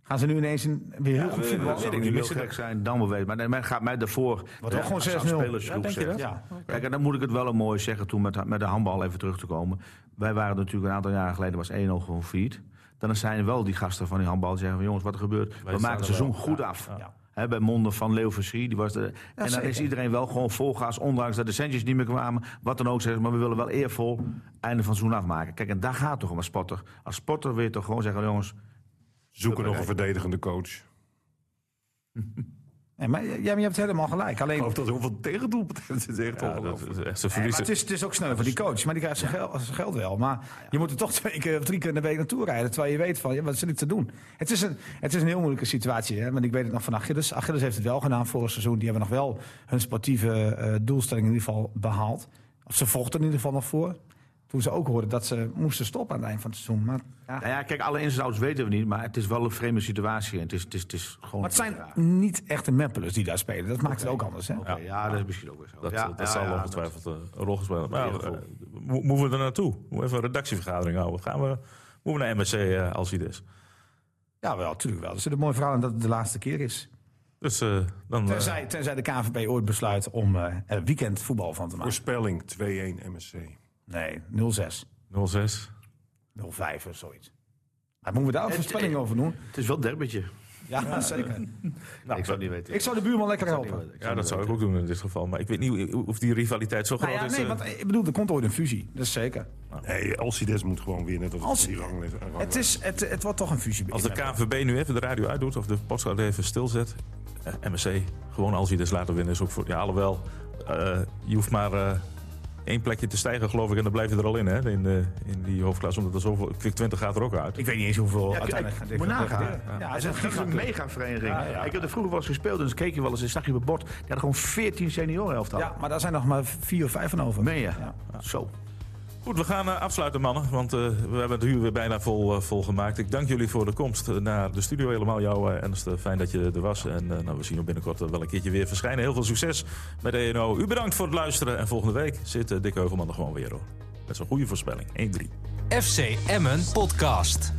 S3: Gaan ze nu ineens een, weer heel goed voetbal?
S5: Dat zou
S2: ik
S5: niet
S2: niet.
S5: heel gek zijn, dan wel weten. Maar nee, men gaat mij daarvoor...
S3: Wat
S5: eh,
S3: ook gewoon
S5: als een
S3: 6-0.
S5: spelersgroep
S2: Ja, denk je
S5: zegt.
S2: dat?
S3: Ja.
S5: Kijk, en dan moet ik het wel een mooi zeggen toen met, met de handbal even terug te komen. Wij waren natuurlijk een aantal jaren geleden, was 1-0 gewoon failliet. Dan zijn er wel die gasten van die handbal die zeggen van jongens, wat er gebeurt. we
S2: staan
S5: maken het
S2: er
S5: seizoen
S2: wel.
S5: goed
S2: Ja,
S5: af.
S2: ja.
S5: Hè, bij monden van Leo Versie, die was de, En dan
S3: zeker.
S5: is iedereen wel gewoon vol gas, ondanks dat de centjes niet meer kwamen. Wat dan ook zeggen, ze, maar we willen wel eervol einde van het seizoen afmaken. Kijk, en daar gaat het toch om als spotter. Als spotter wil je toch gewoon zeggen, jongens,
S4: Zoeken nog een verdedigende coach. Ik
S3: Nee, maar, ja, maar je hebt helemaal gelijk. Alleen,
S4: geloof dat er heel veel tegendoelpunten zit. echt
S2: Ja, dat
S4: ongelooflijk.
S2: is echt zo
S3: Nee, maar
S2: verliezen.
S3: het, is, het is ook sneu voor die coach, maar die krijgt zijn, geld, zijn geld wel. Maar je moet er toch twee keer of drie keer in de week naartoe rijden. Terwijl je weet van, ja, wat zit ik te doen? Het is een, het is een heel moeilijke situatie. Hè? Want ik weet het nog van Achilles. Achilles heeft het wel gedaan vorig seizoen. Die hebben nog wel hun sportieve eh doelstelling in ieder geval behaald. Of ze vochten in ieder geval nog voor. Toen ze ook hoorden dat ze moesten stoppen aan het eind van het seizoen. Maar, ja.
S5: Nou ja, kijk, alle ins en outs weten we niet, maar het is wel een vreemde situatie. En het is, het is, het is gewoon.
S3: maar het zijn
S5: Ja,
S3: niet echte Mempelers die daar spelen. Dat maakt het ook anders. Hè?
S5: oké, ja, dat is misschien ook weer zo.
S2: Dat,
S5: ja,
S2: dat
S5: ja,
S2: zal
S5: ja,
S2: ongetwijfeld eh, een rol gespeeld hebben. Maar,
S5: Eergevoel.
S2: eh, mo- moeten we er naartoe? Moeten we even een redactievergadering houden? Gaan we, moeten we naar MSC eh, als hij er is?
S3: Ja, wel, natuurlijk wel. Dat is een mooi verhaal en dat het de laatste keer is.
S2: Dus eh, dan... eh,
S3: Tenzij, tenzij de KNVB ooit besluit om eh, er weekend voetbal van te maken.
S4: Voorspelling 2-1 MSC.
S2: Nou.
S3: Nee, 06,
S2: eh, 06.
S3: 05 of zoiets. Maar moeten we daar ook voorspelling over doen?
S5: Het is wel een derbytje.
S3: Ja, zeker.
S5: ik zou het niet weten.
S3: Nou, Ik zou de buurman lekker helpen.
S2: Ja, dat zou ik ook doen in dit geval. Maar ik weet niet hoe- of die rivaliteit zo groot
S3: Nou ja,
S2: is.
S3: nee,
S2: eh.
S3: want eh, ik bedoel, er komt ooit een fusie. Dat is zeker.
S4: Nee, Alcides moet gewoon winnen. Dat
S3: Als-
S4: is die ranglijst.
S3: Het, is, het, het wordt toch een fusie.
S2: Als de KNVB nu even de radio uitdoet of de podcast even stilzet. eh, MSC, gewoon als hij dus later winnen is ook voor... Ja, alhoewel, eh, je hoeft maar eh, één plekje te stijgen geloof ik. En dan blijf je er al in, hè, in, de, in die hoofdklas. Omdat er zoveel... Kwik 20 gaat er ook uit.
S3: Ik weet niet eens hoeveel
S5: Ja,
S3: uiteindelijk
S5: kijk,
S3: dit
S5: moet
S3: gaat
S5: nagaan.
S3: worden. Ja, het is een
S5: Dat is een
S3: gigantisch.
S5: mega vereniging.
S3: Ja, ja.
S5: Ik heb er vroeger wel eens gespeeld en dus keek je wel eens en zag je op het bord. Die hadden gewoon 14 senioren elftal.
S3: Ja, maar daar zijn nog maar vier of vijf van over.
S5: Meen je? Zo.
S2: Goed, we gaan eh, afsluiten, mannen. Want eh, we hebben het uur weer bijna vol, eh, vol gemaakt. Ik dank jullie voor de komst eh, naar de studio. Helemaal jou, eh, Ernst. eh, Fijn dat je er was. En eh, nou, we zien je binnenkort eh, wel een keertje weer verschijnen. Heel veel succes met ENO. U bedankt voor het luisteren. En volgende week zit eh, Dick Heuvelman er gewoon weer, hoor. Dat is een goede voorspelling. 1-3.
S7: FC Emmen Podcast.